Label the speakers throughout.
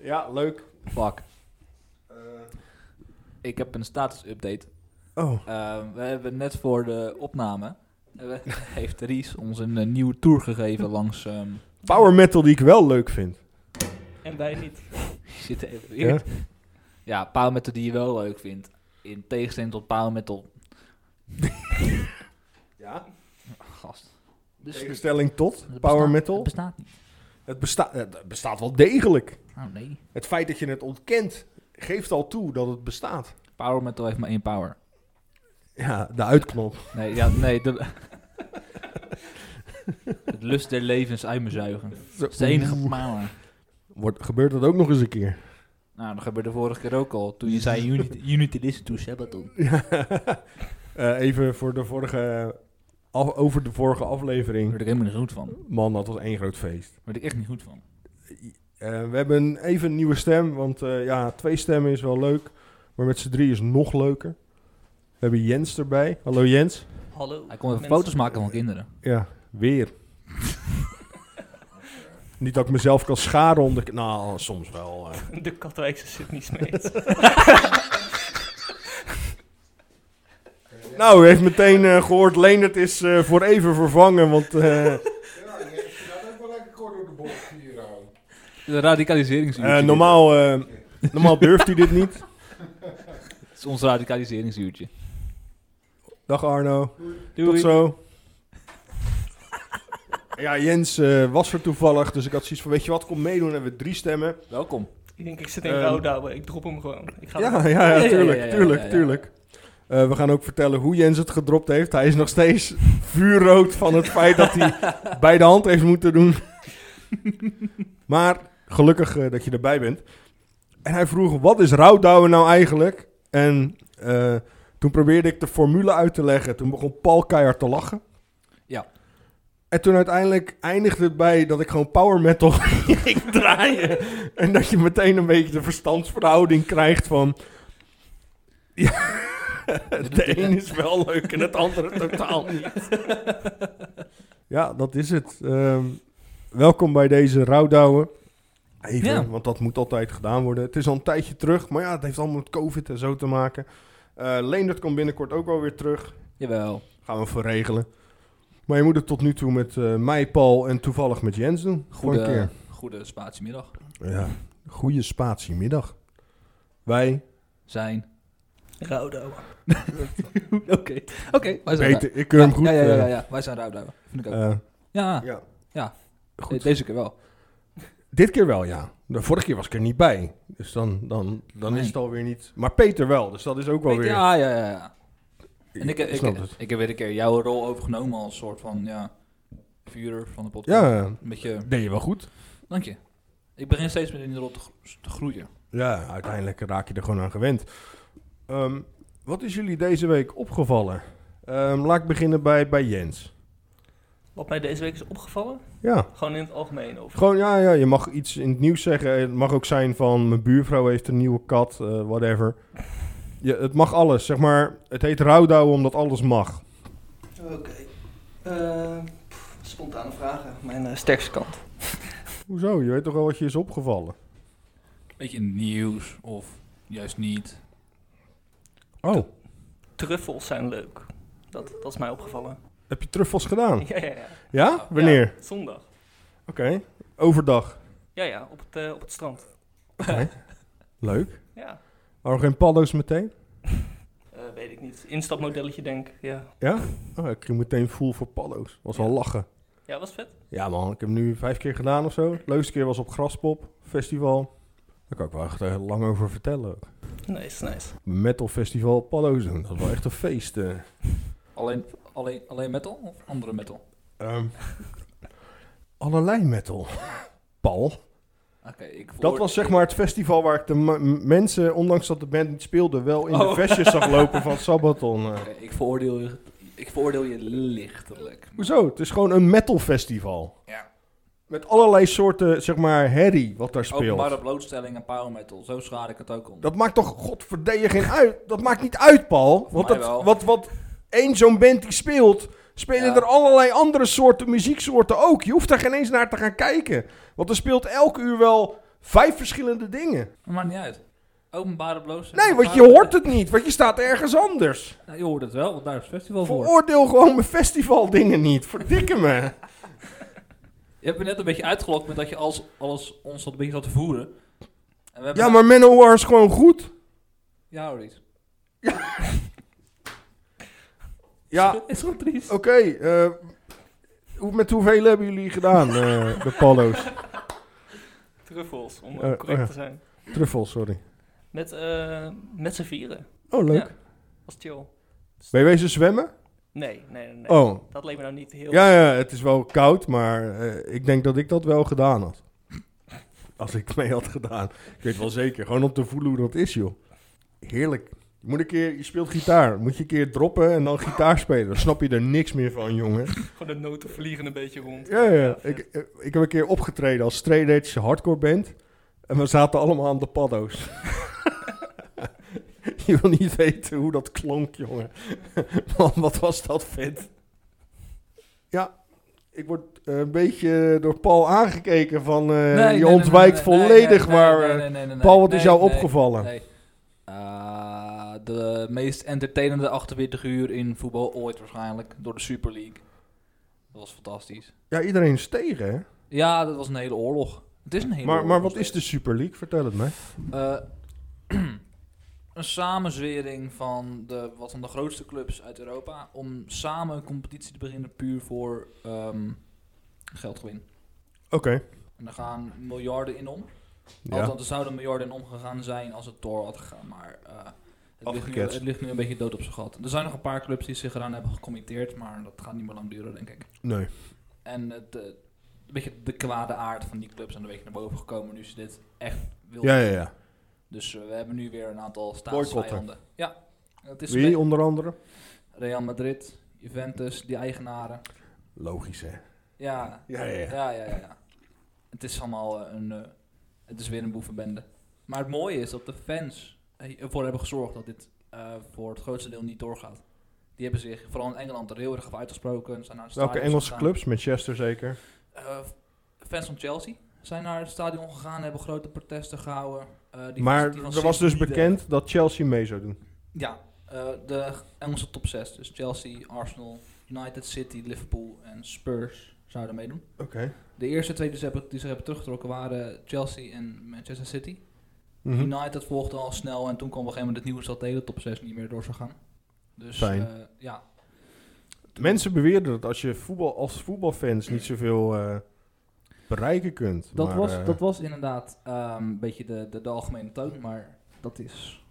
Speaker 1: Ja, leuk. Eh.
Speaker 2: Fuck. Ik heb een status-update.
Speaker 3: Oh,
Speaker 2: Eh, we hebben net voor de opname... eh, heeft Ries ons een eh, nieuwe tour gegeven langs... ehm,
Speaker 3: power metal die ik wel leuk vind.
Speaker 4: En wij niet.
Speaker 2: zit even weer. Ja, power metal die je wel leuk vindt. In tegenstelling tot power metal...
Speaker 1: Ja?
Speaker 2: Gast.
Speaker 3: In
Speaker 2: Dus
Speaker 3: Tegenstelling tot
Speaker 2: het
Speaker 3: power
Speaker 2: bestaat-
Speaker 3: metal.
Speaker 2: Het bestaat niet.
Speaker 3: Het, besta eh, het bestaat wel degelijk.
Speaker 2: Oh nee.
Speaker 3: Het feit dat je het ontkent geeft al toe dat het bestaat.
Speaker 2: Power metal heeft maar één power.
Speaker 3: Ja, de uitknop.
Speaker 2: Nee, ja, nee. De... het lust der levens uit me zuigen. Dat is de enige power.
Speaker 3: Wordt, gebeurt dat ook nog eens een keer?
Speaker 2: Nou, dat gebeurde vorige keer ook al. Toen je zei, you need, you need to listen to Sabaton.
Speaker 3: Ja. Eh, even voor de vorige af- over de vorige
Speaker 2: Daar
Speaker 3: aflevering.
Speaker 2: word ik helemaal niet goed van. Daar
Speaker 3: Man, dat was één groot feest.
Speaker 2: word ik echt niet goed van.
Speaker 3: Eh, we hebben even een nieuwe stem, want eh, ja, twee stemmen is wel leuk. Maar met z'n drie is nog leuker. We hebben Jens erbij. Hallo Jens.
Speaker 4: Hallo.
Speaker 2: Hij kon even
Speaker 4: mensen.
Speaker 2: foto's maken van kinderen.
Speaker 3: Ja, weer. Niet dat ik mezelf kan scharen om de... Nou, soms wel. eh.
Speaker 4: De Katwijkse Sydney Smeets.
Speaker 3: Nou, u heeft meteen eh, gehoord, Leendert is eh, voor even vervangen, want... eh,
Speaker 1: Ja, je gaat ook wel lekker kort door de bocht hier eh. aan.
Speaker 2: De radicaliseringsuurtje.
Speaker 3: eh, normaal, eh, normaal durft hij dit niet.
Speaker 2: dit. Het is ons radicaliseringsuurtje.
Speaker 3: Dag Arno,
Speaker 2: Doei.
Speaker 3: tot zo. Ja, Jens eh, was er toevallig, dus ik had zoiets van, weet je wat, kom meedoen, dan hebben we drie stemmen.
Speaker 2: Welkom.
Speaker 4: ik denk, ik zit in
Speaker 3: Ehm.
Speaker 4: Roudouwen. Ik drop hem gewoon. Ik ga
Speaker 3: Ja, ja,
Speaker 2: ja,
Speaker 3: ja, tuurlijk,
Speaker 2: ja, ja,
Speaker 3: tuurlijk,
Speaker 2: ja, ja.
Speaker 3: tuurlijk. Eh, we gaan ook vertellen hoe Jens het gedropt heeft. Hij is nog steeds vuurrood van het feit dat hij bij de hand heeft moeten doen. maar gelukkig eh, dat je erbij bent. En hij vroeg, wat is rouwdouwen nou eigenlijk? En eh, toen probeerde ik de formule uit te leggen. Toen begon Paul keihard te lachen.
Speaker 2: Ja.
Speaker 3: En toen uiteindelijk eindigde het bij dat ik gewoon power metal ging draaien. En dat je meteen een beetje de verstandsverhouding krijgt van... Ja, de een is wel leuk en het andere totaal niet. Ja, dat is het. Ehm, welkom bij deze rouwdouwen. Even,
Speaker 2: Ja.
Speaker 3: want dat moet altijd gedaan worden. Het is al een tijdje terug, maar ja, het heeft allemaal met covid en zo te maken. Eh Leendert komt binnenkort ook wel weer terug.
Speaker 2: Jawel.
Speaker 3: Gaan we voor regelen. Maar je moet het tot nu toe met eh, mij, Paul en toevallig met Jens doen. Voor een
Speaker 2: Goede,
Speaker 3: keer.
Speaker 2: goede spatiemiddag.
Speaker 3: Ja. Goeie spatiemiddag. Wij,
Speaker 2: Zijn.
Speaker 4: Roudouwen.
Speaker 2: Oké. Oké, wij zijn
Speaker 3: Peter, ik keur hem goed.
Speaker 2: Ja, ja, ja, ja,
Speaker 3: eh,
Speaker 2: ja. wij zijn ruimduiven. Vind ik ook.
Speaker 3: eh,
Speaker 2: ja,
Speaker 3: ja.
Speaker 2: Ja.
Speaker 3: eh, Goed.
Speaker 2: deze keer wel.
Speaker 3: Dit keer wel, ja. De vorige keer was ik er niet bij. Dus dan, dan, dan
Speaker 2: Nee.
Speaker 3: is het alweer niet... Maar Peter wel, dus dat is ook wel weer...
Speaker 2: ah, Ja, ja, ja. ja. En ik, ik, ik,
Speaker 3: snap het.
Speaker 2: ik heb weer een keer jouw rol overgenomen als soort van, ja, vuurder van de podcast.
Speaker 3: Ja,
Speaker 2: Een beetje,
Speaker 3: deed je wel goed.
Speaker 2: dank je. Ik begin steeds meer in die rol te, gro- te groeien.
Speaker 3: Ja, uiteindelijk raak je er gewoon aan gewend. Ehm, wat is jullie deze week opgevallen? Ehm, laat ik beginnen bij, bij Jens.
Speaker 4: Wat mij deze week is opgevallen,
Speaker 3: Ja.
Speaker 4: gewoon in het algemeen over.
Speaker 3: Gewoon, ja, ja, je mag iets in het nieuws zeggen. Het mag ook zijn van mijn buurvrouw heeft een nieuwe kat, eh, whatever. Ja, het mag alles, zeg maar. Het heet rouwdouwen omdat alles mag.
Speaker 4: Oké. Eh, pff, spontane vragen. Mijn eh, sterkste kant.
Speaker 3: Hoezo? Je weet toch wel wat je is opgevallen?
Speaker 2: Beetje in het nieuws, of juist niet.
Speaker 3: Oh.
Speaker 4: Truffels zijn leuk. Dat, dat is mij opgevallen.
Speaker 3: Heb je truffels gedaan?
Speaker 4: Ja, ja, ja.
Speaker 3: Ja? Wanneer?
Speaker 4: Ja, zondag.
Speaker 3: Oké. Overdag.
Speaker 4: Ja, ja, op het, eh, op het strand.
Speaker 3: Oké. Leuk.
Speaker 4: Ja,
Speaker 3: Waarom geen paddo's meteen?
Speaker 4: Eh, weet ik niet. Instapmodelletje denk ik, ja.
Speaker 3: Ja? Oh, ik ging meteen full voor paddo's. Was wel
Speaker 4: Ja.
Speaker 3: lachen.
Speaker 4: Ja, was vet.
Speaker 3: Ja man, ik heb hem nu vijf keer gedaan of zo. Leukste keer was op Graspop Festival. Daar kan ik wel echt eh, lang over vertellen.
Speaker 4: Nice, nice.
Speaker 3: Metal Festival Paddo's doen. Dat was wel echt een feest. eh.
Speaker 2: Alleen, alleen, alleen metal, of andere metal?
Speaker 3: Ehm, allerlei metal. Paul.
Speaker 2: Oké, ik
Speaker 3: Dat
Speaker 2: veroor-
Speaker 3: was zeg maar het festival waar ik de ma- m- mensen, ondanks dat de band niet speelde, wel in
Speaker 2: Oh.
Speaker 3: de vestjes zag lopen van Sabaton. eh.
Speaker 2: Oké, ik, veroordeel je, ik veroordeel je lichtelijk.
Speaker 3: Hoezo? Het is gewoon een metal festival.
Speaker 2: Ja.
Speaker 3: Met allerlei soorten, zeg maar, herrie wat daar speelt.
Speaker 2: Openbare blootstelling en power metal, zo schade ik het ook om.
Speaker 3: Dat maakt toch godverdedig geen uit. Dat maakt niet uit, Paul. Want
Speaker 2: mij
Speaker 3: dat,
Speaker 2: wel.
Speaker 3: wat, wat één zo'n band die speelt, spelen
Speaker 2: Ja.
Speaker 3: er allerlei andere soorten muzieksoorten ook. Je hoeft daar geen eens naar te gaan kijken. Want er speelt elk uur wel vijf verschillende dingen.
Speaker 2: Maar maakt niet uit. Openbare blootstelling.
Speaker 3: Nee, want je hoort het niet, want je staat ergens anders.
Speaker 2: Ja, je hoort het wel, want daar is het festival voor.
Speaker 3: Veroordeel gewoon mijn festivaldingen niet. Verdikke me.
Speaker 2: Je hebt me net een beetje uitgelokt met dat je alles, alles ons dat een beetje zat te voeren. En we hebben-
Speaker 3: Ja, maar Eh, Manowar is gewoon goed.
Speaker 2: Ja, hoor iets.
Speaker 3: Ja,
Speaker 2: Is gewoon triest.
Speaker 3: oké. eh, hoe- met hoeveel hebben jullie gedaan, eh, de Pallo's?
Speaker 5: Truffels, om
Speaker 3: Eh,
Speaker 5: eh, correct
Speaker 3: eh.
Speaker 5: te zijn.
Speaker 3: Truffel, sorry.
Speaker 5: Met, eh, met z'n vieren.
Speaker 3: Oh, leuk.
Speaker 5: Ja, was chill.
Speaker 3: Ben je wezen zwemmen?
Speaker 5: Nee, nee, nee. nee.
Speaker 3: Oh.
Speaker 5: Dat leek me nou niet heel...
Speaker 3: Ja, ja, het is wel koud, maar eh, ik denk dat ik dat wel gedaan had. Als ik mee had gedaan. Ik weet wel zeker. Gewoon om te voelen hoe dat is, joh. Heerlijk. Je Moet een keer, je speelt gitaar. Moet je een keer droppen en dan gitaar spelen. Dan snap je er niks meer van, jongen.
Speaker 5: Gewoon de noten vliegen een beetje rond.
Speaker 3: Ja, ja, ja.
Speaker 5: vet.
Speaker 3: Ik, eh, ik heb een keer opgetreden als straight edge hardcore band. En we zaten allemaal aan de paddo's. Je wil niet weten hoe dat klonk, jongen. Man, wat was dat vet. Ja, ik word eh, een beetje door Paul aangekeken van... eh,
Speaker 2: Nee, nee,
Speaker 3: je
Speaker 2: nee,
Speaker 3: ontwijkt
Speaker 2: nee, nee,
Speaker 3: volledig,
Speaker 2: nee, nee,
Speaker 3: maar...
Speaker 2: nee,
Speaker 3: eh,
Speaker 2: nee, nee, nee,
Speaker 3: Paul, wat is
Speaker 2: nee,
Speaker 3: jou
Speaker 2: nee,
Speaker 3: opgevallen?
Speaker 2: nee. Ah, de meest entertainende 48 uur in voetbal ooit waarschijnlijk. Door de Super League. Dat was fantastisch.
Speaker 3: Ja, iedereen is tegen, hè?
Speaker 2: Ja, dat was een hele oorlog. Het is een hele
Speaker 3: Maar,
Speaker 2: oorlog
Speaker 3: maar
Speaker 2: nog
Speaker 3: wat is de
Speaker 2: steeds.
Speaker 3: Super League? Vertel het mij.
Speaker 2: Eh, een samenzwering van de, wat van de grootste clubs uit Europa. Om samen een competitie te beginnen puur voor ehm, geldgewin.
Speaker 3: Oké.
Speaker 2: En daar gaan miljarden in om.
Speaker 3: Ja.
Speaker 2: Althans, er zouden miljarden in omgegaan zijn als het door had gegaan, maar eh, het, ligt nu,
Speaker 3: Afgeketst.
Speaker 2: het ligt nu een beetje dood op zijn gat. Er zijn nog een paar clubs die zich eraan hebben gecommitteerd, maar dat gaat niet meer lang duren, denk ik.
Speaker 3: Nee.
Speaker 2: En het, eh, een beetje de kwade aard van die clubs zijn een beetje naar boven gekomen nu ze dit echt wilden.
Speaker 3: Ja, ja, ja.
Speaker 2: Dus eh, we hebben nu weer een aantal
Speaker 3: Boycotten.
Speaker 2: staatsvijanden. Ja, het is
Speaker 3: Wie
Speaker 2: een
Speaker 3: onder andere?
Speaker 2: beetje- Real Madrid, Juventus, die eigenaren.
Speaker 3: Logisch, hè?
Speaker 2: Ja,
Speaker 3: Ja, ja, ja.
Speaker 2: ja, ja, ja, ja. Het is allemaal eh, een, eh, het is weer een boevenbende. Maar het mooie is dat de fans eh, ervoor hebben gezorgd dat dit eh, voor het grootste deel niet doorgaat. Die hebben zich vooral in Engeland er heel erg over uitgesproken. Zijn naar het
Speaker 3: Welke
Speaker 2: stadion
Speaker 3: Engelse
Speaker 2: gegaan.
Speaker 3: clubs? Manchester zeker.
Speaker 2: Eh, fans van Chelsea zijn naar het stadion gegaan, hebben grote protesten gehouden. Eh, die
Speaker 3: Maar
Speaker 2: die van
Speaker 3: er was dus
Speaker 2: City, eh, de-
Speaker 3: bekend dat Chelsea mee zou doen.
Speaker 2: Ja, eh, de Engelse top 6. Dus Chelsea, Arsenal, United City, Liverpool en Spurs zouden meedoen.
Speaker 3: Oké.
Speaker 2: De eerste twee die ze hebben, die ze hebben teruggetrokken waren Chelsea en Manchester City.
Speaker 3: Mhm.
Speaker 2: United volgde al snel en toen kwam op een gegeven moment het nieuws dat de hele top 6 niet meer door zou gaan. Dus
Speaker 3: Fijn.
Speaker 2: eh, ja,
Speaker 3: Mensen beweerden dat als je voetbal, als voetbalfans niet zoveel eh, bereiken kunt.
Speaker 2: dat,
Speaker 3: maar,
Speaker 2: was,
Speaker 3: eh,
Speaker 2: dat was inderdaad ehm, een beetje de, de, de algemene toon, maar dat is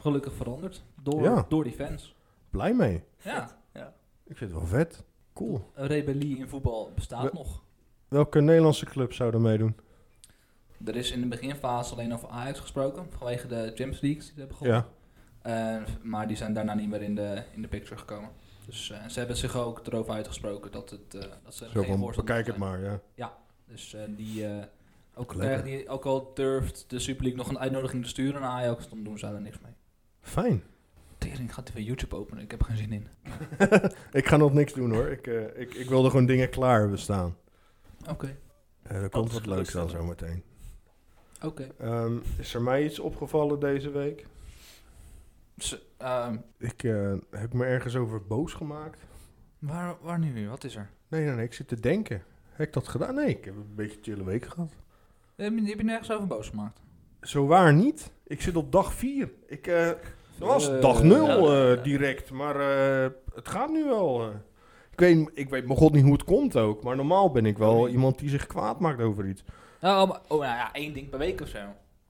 Speaker 2: gelukkig veranderd door,
Speaker 3: Ja.
Speaker 2: door die fans.
Speaker 3: Blij mee.
Speaker 2: Ja,
Speaker 3: Ik vind het wel vet. Cool.
Speaker 2: een rebellie in voetbal bestaat
Speaker 3: We-
Speaker 2: nog.
Speaker 3: Welke Nederlandse clubs zouden meedoen?
Speaker 2: Er is in de beginfase alleen over Ajax gesproken, vanwege de Champions League die ze hebben gewonnen.
Speaker 3: Ja.
Speaker 2: Eh, maar die zijn daarna niet meer in de, in de picture gekomen. Dus eh, ze hebben zich ook erover uitgesproken dat, het, eh, dat ze er
Speaker 3: Zo
Speaker 2: geen
Speaker 3: van,
Speaker 2: voorstander
Speaker 3: bekijk het
Speaker 2: zijn.
Speaker 3: maar, ja.
Speaker 2: Dus eh, die, eh, ook, al
Speaker 3: Lekker.
Speaker 2: krijgen die, ook al durft de Super League nog een uitnodiging te sturen naar Ajax, dan doen ze daar niks mee.
Speaker 3: Fijn.
Speaker 2: Tering gaat hij weer YouTube openen, ik heb er geen zin in.
Speaker 3: ik ga nog niks doen hoor. Ik, eh, ik, ik wilde gewoon dingen klaar hebben staan.
Speaker 2: Oké,
Speaker 3: Eh er komt
Speaker 5: is
Speaker 3: wat leuks dan
Speaker 5: geruststellend.
Speaker 3: zo meteen.
Speaker 2: oké.
Speaker 3: Ehm, is er mij iets opgevallen deze week?
Speaker 2: Ze- ehm,
Speaker 3: Ik eh, heb me ergens over boos gemaakt.
Speaker 2: waar, waar nu weer? Wat is er?
Speaker 3: Nee, nee, nee. Ik zit te denken. Heb ik dat gedaan? Nee, ik heb een beetje chille week gehad.
Speaker 2: Eh, Heb je, heb je nergens over boos gemaakt?
Speaker 3: Zo waar niet. Ik zit op dag 4. Ik eh, dat was
Speaker 2: Eh,
Speaker 3: dag 0
Speaker 5: ja.
Speaker 3: eh, direct, maar eh, het gaat nu wel. eh. Ik weet, ik weet mijn god niet hoe het komt ook, maar normaal ben ik wel iemand die zich kwaad maakt over iets.
Speaker 2: Nou, maar- oh, nou ja, één ding per week of zo.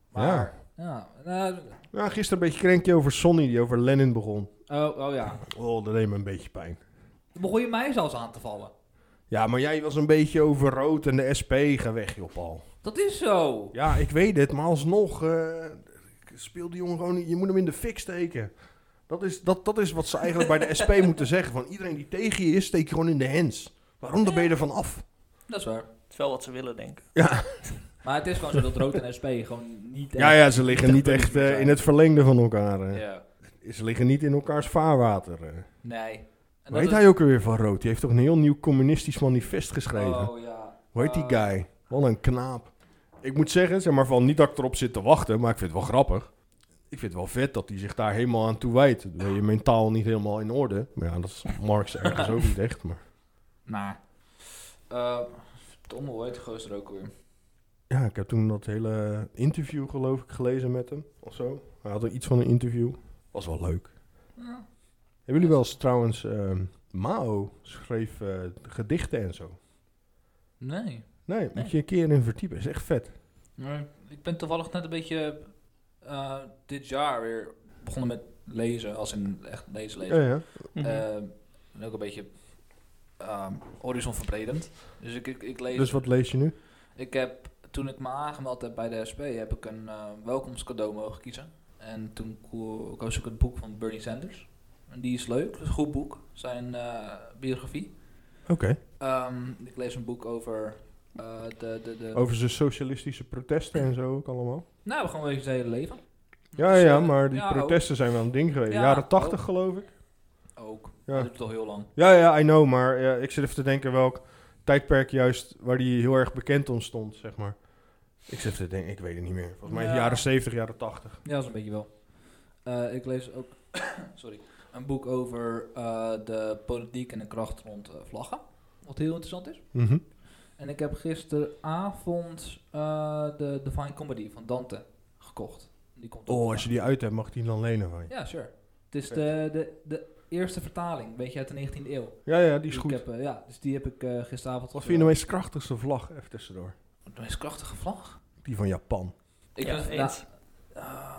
Speaker 2: Maar, ja. nou,
Speaker 3: Ja, gisteren een beetje krenkje over Sonny die over Lennon begon.
Speaker 2: oh, oh ja.
Speaker 3: Oh, dat deed me een beetje pijn.
Speaker 2: Dan begon je mij zelfs aan te vallen.
Speaker 3: Ja, maar jij was een beetje over rood en de SP. Ga weg, joh, Paul.
Speaker 2: Dat is zo.
Speaker 3: Ja, ik weet het, maar alsnog eh, speel die jongen gewoon. niet. Je moet hem in de fik steken. Dat is, dat, dat is wat ze eigenlijk bij de SP moeten zeggen. Van iedereen die tegen je is, steek je gewoon in de hens. Waarom dan ben je er van af?
Speaker 2: Dat is waar.
Speaker 5: Het is wel wat ze willen, denk ik.
Speaker 2: Maar het is gewoon zo dat Rood en SP gewoon niet...
Speaker 3: Ja, ja, ze liggen niet
Speaker 2: dat
Speaker 3: echt
Speaker 2: moet
Speaker 3: eh,
Speaker 2: zijn.
Speaker 3: in het verlengde van elkaar. eh.
Speaker 2: Ja.
Speaker 3: Ze liggen niet in elkaars vaarwater. eh.
Speaker 2: Nee. En
Speaker 3: Hoe
Speaker 2: dat
Speaker 3: heet
Speaker 2: is-
Speaker 3: hij ook alweer van rood? Die heeft toch een heel nieuw communistisch manifest geschreven?
Speaker 2: Oh, ja.
Speaker 3: Hoe heet die
Speaker 2: Eh,
Speaker 3: guy? Wat een knaap. Ah. Ik moet zeggen, zeg maar van niet dat ik erop zit te wachten, maar ik vind het wel grappig. Ik vind het wel vet dat hij zich daar helemaal aan toewijdt. Dan ben je mentaal niet helemaal in orde. Maar ja, dat is Marx ergens ook niet echt. Maar
Speaker 2: Nou. Eh verdomme, hoe heet die gozer ook weer?
Speaker 3: ja, ik heb toen dat hele interview geloof ik gelezen met hem of zo. Hij had er iets van een interview. Was wel leuk.
Speaker 2: Ja.
Speaker 3: Hebben jullie wel eens trouwens, ehm, Mao schreef eh, gedichten en zo.
Speaker 2: Nee.
Speaker 3: Nee, moet
Speaker 2: Nee.
Speaker 3: je een keer in verdiepen. Is echt vet.
Speaker 2: Nee. Ik ben toevallig net een beetje eh, dit jaar weer begonnen met lezen, als in echt lezen lezen.
Speaker 3: Ja, ja.
Speaker 5: Mhm.
Speaker 2: Eh, en ook een beetje ehm horizon verbredend. Dus ik, ik, ik lees.
Speaker 3: Dus wat lees je nu?
Speaker 2: Ik heb toen ik me aangemeld heb bij de SP, heb ik een eh, welkomstcadeau mogen kiezen. En toen ko- koos ik het boek van Bernie Sanders. En die is leuk, dat is een goed boek. Zijn eh, biografie.
Speaker 3: Oké.
Speaker 2: Ehm, ik lees een boek over eh, de. de, de
Speaker 3: Over zijn socialistische protesten en zo ook allemaal.
Speaker 2: Nou, gewoon even zijn hele leven.
Speaker 3: Ja,
Speaker 2: Dus,
Speaker 3: ja,
Speaker 2: eh,
Speaker 3: maar die
Speaker 2: ja, ook.
Speaker 3: protesten zijn wel een ding geweest.
Speaker 2: Ja,
Speaker 3: Jaren tachtig,
Speaker 2: ook.
Speaker 3: geloof ik.
Speaker 2: Ook.
Speaker 3: Ja.
Speaker 2: Dat duurt toch heel lang.
Speaker 3: Ja, ja, I know, maar ja, ik zit even te denken welk tijdperk juist waar die heel erg bekend om stond, zeg maar. Ik zit even te denken, ik weet het niet meer. Volgens mij is het
Speaker 2: Ja.
Speaker 3: jaren 70, jaren 80.
Speaker 2: Ja, dat is een beetje wel. Eh, ik lees ook sorry, een boek over eh, de politiek en de kracht rond eh, vlaggen. Wat heel interessant is.
Speaker 3: Mhm.
Speaker 2: En ik heb gisteravond eh de Divine Comedy van Dante gekocht. Die komt op
Speaker 3: Oh, als
Speaker 2: vandaag.
Speaker 3: je die uit hebt, mag ik die dan lenen van je.
Speaker 2: Ja, sure. Het is de, de, de eerste vertaling, weet je, uit de 19e eeuw.
Speaker 3: Ja, ja, die is
Speaker 2: Ik
Speaker 3: goed.
Speaker 2: heb, eh, ja, dus die heb ik eh, gisteravond...
Speaker 3: Wat vind je de meest krachtigste vlag, even tussendoor?
Speaker 2: De meest krachtige vlag?
Speaker 3: Die van Japan.
Speaker 2: Ik
Speaker 5: Ja,
Speaker 2: vind-
Speaker 5: eens.
Speaker 2: nou, eh,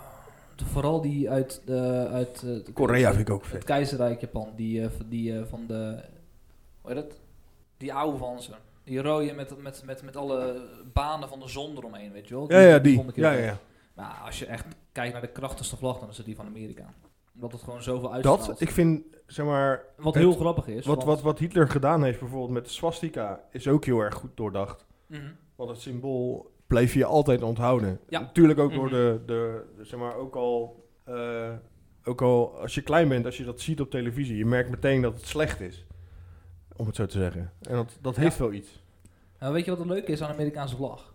Speaker 2: de- vooral die uit... de uit eh, de-
Speaker 3: Korea vind ik ook
Speaker 2: Het
Speaker 3: vet.
Speaker 2: keizerrijk Japan, die, eh, van- die eh, van de... Hoe heet dat? Die oude van ze. Die rode met, met, met, met alle banen van de zon eromheen, weet je wel?
Speaker 3: Ja, ja,
Speaker 2: vond
Speaker 3: die.
Speaker 2: ik heel
Speaker 3: Ja,
Speaker 2: vet.
Speaker 3: ja, ja.
Speaker 2: Maar als je echt kijkt naar de krachtigste vlag, dan is het die van Amerika. Omdat het gewoon zoveel uitstraalt.
Speaker 3: Dat, ik vind, zeg maar,
Speaker 2: wat
Speaker 3: het-
Speaker 2: heel grappig is.
Speaker 3: wat,
Speaker 2: want-
Speaker 3: wat, wat Hitler gedaan heeft bijvoorbeeld met de swastika, is ook heel erg goed doordacht.
Speaker 2: Mhm.
Speaker 3: Want het symbool bleef je altijd onthouden.
Speaker 2: Ja.
Speaker 3: Natuurlijk ook door
Speaker 5: Mhm.
Speaker 3: de, de, de- zeg maar, ook al, eh, ook al als je klein bent, als je dat ziet op televisie, je merkt meteen dat het slecht is. Om het zo te zeggen. En dat, dat
Speaker 2: Ja.
Speaker 3: heeft wel iets.
Speaker 2: Nou, weet je wat het leuke is aan de Amerikaanse vlag?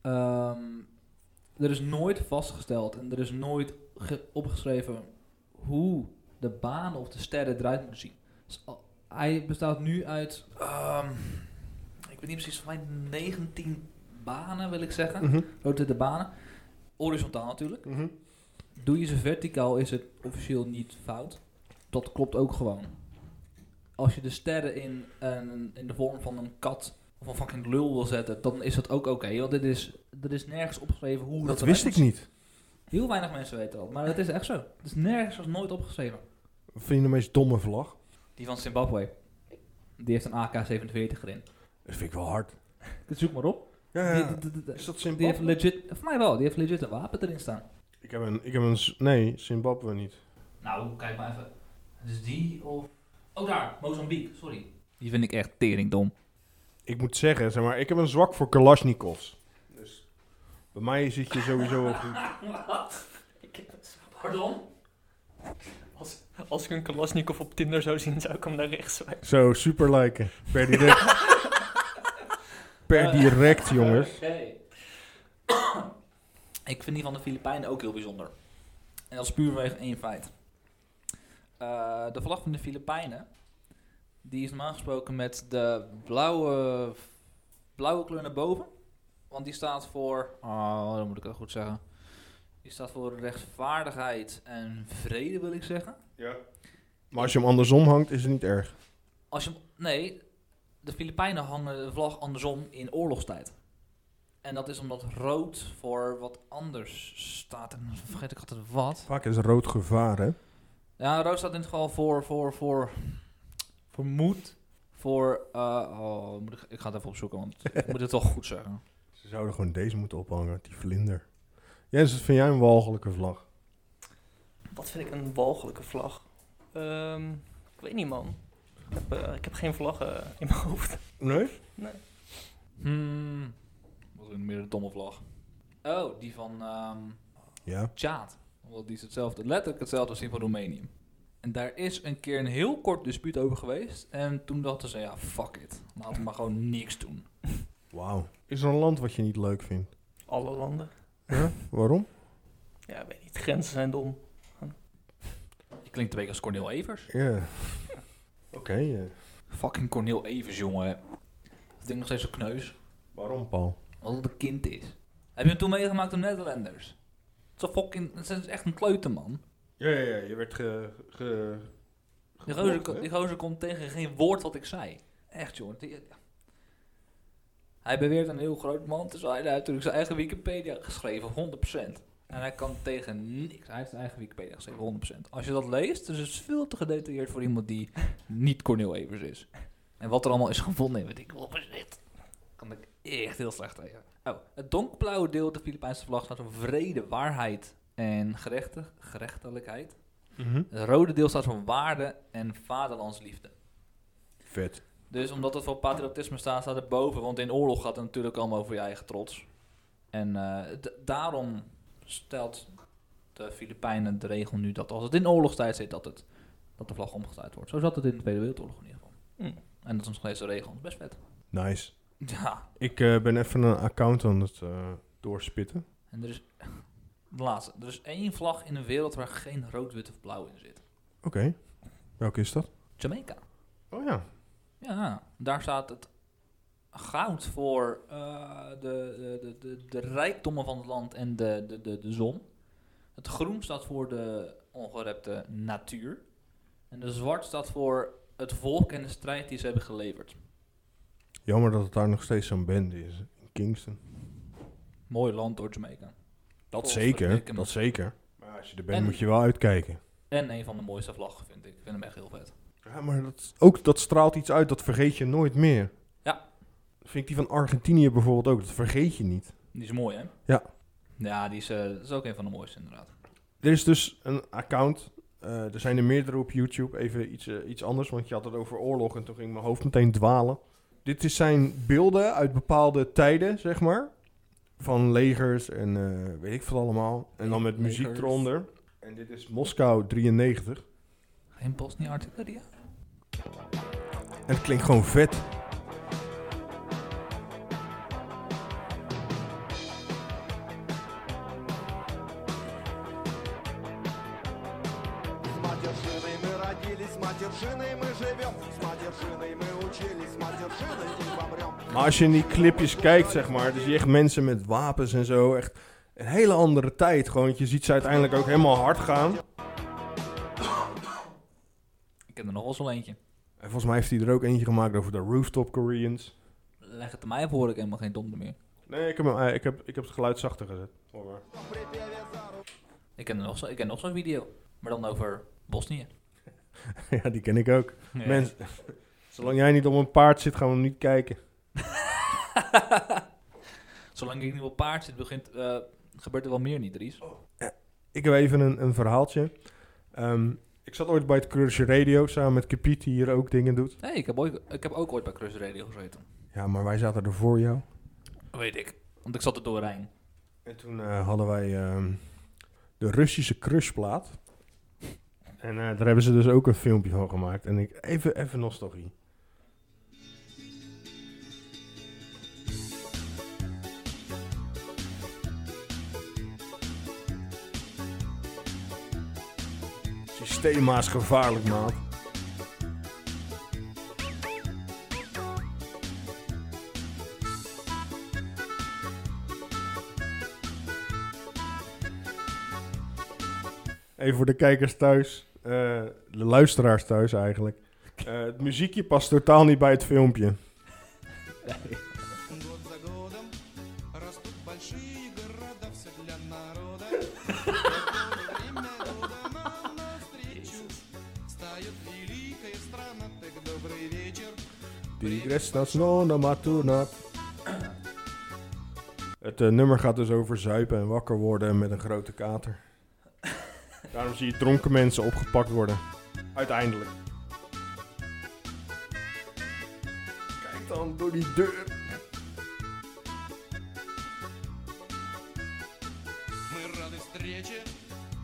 Speaker 2: Ehm, er is nooit vastgesteld en er is nooit ge- opgeschreven hoe de banen of de sterren eruit moeten zien. Dus al- hij bestaat nu uit, ehm, ik weet niet precies, van mij 19 banen wil ik zeggen.
Speaker 3: Mhm.
Speaker 2: Rotate banen. Horizontaal natuurlijk.
Speaker 3: Mhm.
Speaker 2: Doe je ze verticaal is het officieel niet fout. Dat klopt ook gewoon. Als je de sterren in, een- in de vorm van een kat of een fucking lul wil zetten, dan is dat ook oké. want dit is, er is nergens opgeschreven hoe
Speaker 3: Dat
Speaker 2: eruit
Speaker 3: wist ik
Speaker 2: moet
Speaker 3: niet.
Speaker 2: zien. Heel weinig mensen weten dat, maar dat is echt zo. Het is nergens was nooit opgeschreven.
Speaker 3: Wat Vind je de meest domme vlag?
Speaker 2: Die van Zimbabwe, die heeft een AK-47 erin.
Speaker 3: Dat vind ik wel hard.
Speaker 2: Zoek maar op.
Speaker 3: Ja,
Speaker 2: Die,
Speaker 3: ja.
Speaker 2: die- die- die-
Speaker 3: Is dat
Speaker 2: die heeft
Speaker 3: Zimbabwe?
Speaker 2: legit, voor mij wel, die heeft legit een wapen erin staan.
Speaker 3: Ik heb een, ik heb een, z- nee, Zimbabwe niet.
Speaker 2: Nou, kijk maar even. Dus die of... Oh, daar. Mozambique, sorry. Die vind ik echt teringdom.
Speaker 3: Ik moet zeggen, zeg maar, ik heb een zwak voor Kalashnikovs. Dus bij mij zit je sowieso wel goed.
Speaker 5: Wat? Ik heb het-
Speaker 2: Pardon?
Speaker 5: Als, als ik een Kalasnikov op Tinder zou zien, zou ik hem naar rechts wijzen.
Speaker 3: Zo, super liken. Per direct. per direct, jongens.
Speaker 2: ik vind die van de Filipijnen ook heel bijzonder. En dat is puur vanwege één feit. Eh, de vlag van de Filipijnen... die is normaal gesproken met de blauwe, blauwe kleur naar boven. Want die staat voor... Oh, dan moet ik dat goed zeggen. Die staat voor rechtvaardigheid en vrede, wil ik zeggen.
Speaker 3: Maar als je hem andersom hangt, is het niet erg.
Speaker 2: Als je, nee, de Filipijnen hangen de vlag andersom in oorlogstijd. En dat is omdat rood voor wat anders staat. En dan vergeet ik altijd wat.
Speaker 3: Vaak is rood gevaar, hè?
Speaker 2: Ja, rood staat in het geval voor, voor, voor, voor moed. Voor, eh, oh, moet ik, ik ga het even opzoeken, want ik moet het toch goed zeggen.
Speaker 3: Ze zouden gewoon deze moeten ophangen, die vlinder. Jens, wat vind jij een walgelijke vlag?
Speaker 5: Wat vind ik een walgelijke vlag? Ehm, ik weet niet, man. Ik heb, eh, ik heb geen vlaggen eh, in mijn hoofd.
Speaker 3: Nee?
Speaker 2: Hmm, wat een meer een domme vlag. Oh, die van ehm
Speaker 3: Ja.
Speaker 2: Tjaad. Want die is hetzelfde, letterlijk hetzelfde als die van Roemenië. En daar is een keer een heel kort dispuut over geweest. En toen dachten ze, ja, fuck it. Laten we maar gewoon niks doen.
Speaker 3: Wauw. Is er een land wat je niet leuk vindt?
Speaker 5: Alle landen.
Speaker 3: Huh? Waarom?
Speaker 5: Ja, weet niet. Grenzen zijn dom.
Speaker 2: Je klinkt een beetje als Cornel Evers.
Speaker 3: Ja. Oké. eh,
Speaker 2: Fucking Cornel Evers, jongen. Dat ding nog steeds een kneus.
Speaker 3: Waarom, Paul?
Speaker 2: Wat het een kind is. Heb je hem toen meegemaakt in Nederlanders? Het is een fucking... Het is echt een kleuterman.
Speaker 3: Ja, ja, ja. Je werd ge... ge
Speaker 2: Die
Speaker 3: geblokt,
Speaker 2: gozer, kon-
Speaker 3: hè?
Speaker 2: die gozer kon tegen geen woord wat ik zei. Echt, jongen. Die- ja. Hij beweert een heel groot man te zijn. Hij heeft natuurlijk zijn eigen Wikipedia geschreven, 100%. En hij kan tegen niks. Hij heeft zijn eigen Wikipedia geschreven, 100%. Als je dat leest, dus het is veel te gedetailleerd voor iemand die niet Cornel Evers is. En wat er allemaal is gevonden, weet ik wel bezit. Kan ik echt heel slecht tegen. Oh, het donkerblauwe deel op de Filipijnse vlag staat voor vrede, waarheid en gerechtig, gerechtelijkheid.
Speaker 3: Mhm.
Speaker 2: Het rode deel staat voor waarde en vaderlandsliefde.
Speaker 3: Vet.
Speaker 2: Dus omdat het voor patriotisme staat, staat het boven. Want in oorlog gaat het natuurlijk allemaal over je eigen trots. En eh, d- daarom stelt de Filipijnen de regel nu dat als het in oorlogstijd zit, dat, het, dat de vlag omgedraaid wordt. Zo zat het in de Tweede Wereldoorlog in ieder geval.
Speaker 5: Mm.
Speaker 2: En dat is nog steeds de regel. Best vet.
Speaker 3: Nice.
Speaker 2: Ja,
Speaker 3: Ik eh, ben even een account aan het eh, doorspitten.
Speaker 2: en er is... De laatste. Er is één vlag in de wereld waar geen rood, wit of blauw in zit.
Speaker 3: Oké. Welke is dat?
Speaker 2: Jamaica.
Speaker 3: Oh ja.
Speaker 2: Ja, daar staat het goud voor eh, de, de, de, de, de rijkdommen van het land en de, de, de, de zon. Het groen staat voor de ongerepte natuur. En de zwart staat voor het volk en de strijd die ze hebben geleverd.
Speaker 3: Jammer dat het daar nog steeds zo'n bende is. In Kingston.
Speaker 2: Mooi land door Jamaica.
Speaker 3: Dat
Speaker 2: Volgens
Speaker 3: zeker.
Speaker 2: verdikken me.
Speaker 3: Dat zeker. Maar als je er bent
Speaker 2: En-
Speaker 3: moet je wel uitkijken.
Speaker 2: En een van de mooiste vlaggen vind ik. Ik vind hem echt heel vet.
Speaker 3: Ja, maar dat, ook dat straalt iets uit. Dat vergeet je nooit meer.
Speaker 2: Ja.
Speaker 3: Vind ik die van Argentinië bijvoorbeeld ook. Dat vergeet je niet.
Speaker 2: Die is mooi, hè?
Speaker 3: Ja.
Speaker 2: Ja, die is, eh, dat is ook een van de mooiste inderdaad.
Speaker 3: Er is dus een account. eh, er zijn er meerdere op YouTube. Even iets, eh, iets anders, want je had het over oorlog en toen ging mijn hoofd meteen dwalen. Dit is zijn beelden uit bepaalde tijden, zeg maar. Van legers en eh, weet ik veel allemaal. En dan met muziek
Speaker 2: Legers.
Speaker 3: eronder. En dit is Moskou 93.
Speaker 2: Geen Bosnië-Artilleria?
Speaker 3: En het klinkt gewoon vet.
Speaker 6: С матершиной мы родились, с матершиной мы живем, с матершиной мы учились, с матершиной и помрем.
Speaker 3: Maar als je in die clipjes kijkt, zeg maar, dan zie je echt mensen met wapens en zo. Echt een hele andere tijd. Gewoon, want je ziet ze uiteindelijk ook helemaal hard gaan.
Speaker 2: Ik heb er nog wel zo'n eentje.
Speaker 3: En volgens mij heeft hij er ook eentje gemaakt over de rooftop Koreans.
Speaker 2: Leg het aan mij, of hoor ik helemaal geen donder meer.
Speaker 3: Nee, ik heb, hem, eh, ik heb, ik heb het geluid zachter gezet.
Speaker 6: В припеве за руку
Speaker 2: Ik ken nog, zo- ik ken nog zo'n video, maar dan over Bosnië.
Speaker 3: ja, die ken ik ook. Mensen, zolang jij niet op een paard zit, gaan we hem niet kijken.
Speaker 2: Zolang ik niet op paard zit, begint, eh, gebeurt er wel meer niet, Dries.
Speaker 3: Ik heb even een, een verhaaltje. Ehm, ik zat ooit bij het Cruise Radio samen met Capiet, die hier ook dingen doet.
Speaker 2: Nee, ik heb, ooit, ik heb ook ooit bij Cruise Radio gezeten.
Speaker 3: Ja, maar wij zaten er voor jou.
Speaker 2: Weet ik, want ik zat er door Rijn.
Speaker 3: En toen eh, hadden wij ehm, de Russische crushplaat. En eh, daar hebben ze dus ook een filmpje van gemaakt. En ik, even, even nostalgie. Systema is gevaarlijk, maat. Even voor de kijkers thuis, eh, de luisteraars thuis eigenlijk. Eh, het muziekje past totaal niet bij het filmpje.
Speaker 6: год за годом растут большие города, все для народа. Какое время года нам навстречу встает великая страна, так добрый вечер.
Speaker 3: Tigres nas nona maturnat. Het eh, nummer gaat dus over zuipen en wakker worden met een grote kater. Daarom zie je dronken mensen opgepakt worden. Uiteindelijk. Kijk dan door die deur.
Speaker 6: Мы рады встрече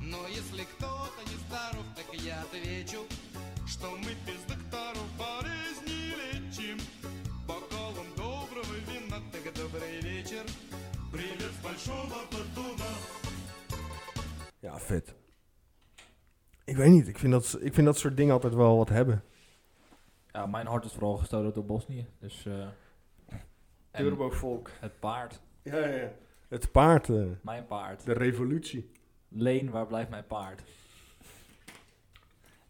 Speaker 6: Но если кто-то нездоров, так я отвечу, что мы без докторов болезни лечим. Бокалом доброго вина, так добрый вечер. Привет с большого поддуна.
Speaker 3: Ja, vet. Ik weet niet, ik vind, dat, ik vind dat soort dingen altijd wel wat hebben.
Speaker 2: Ja, mijn hart is vooral gestolen door Bosnië. Dus, eh, en
Speaker 3: volk.
Speaker 2: het paard.
Speaker 3: Ja, ja, ja. Het paard, eh,
Speaker 2: Mijn paard.
Speaker 3: de revolutie.
Speaker 2: Leen, waar blijft mijn paard?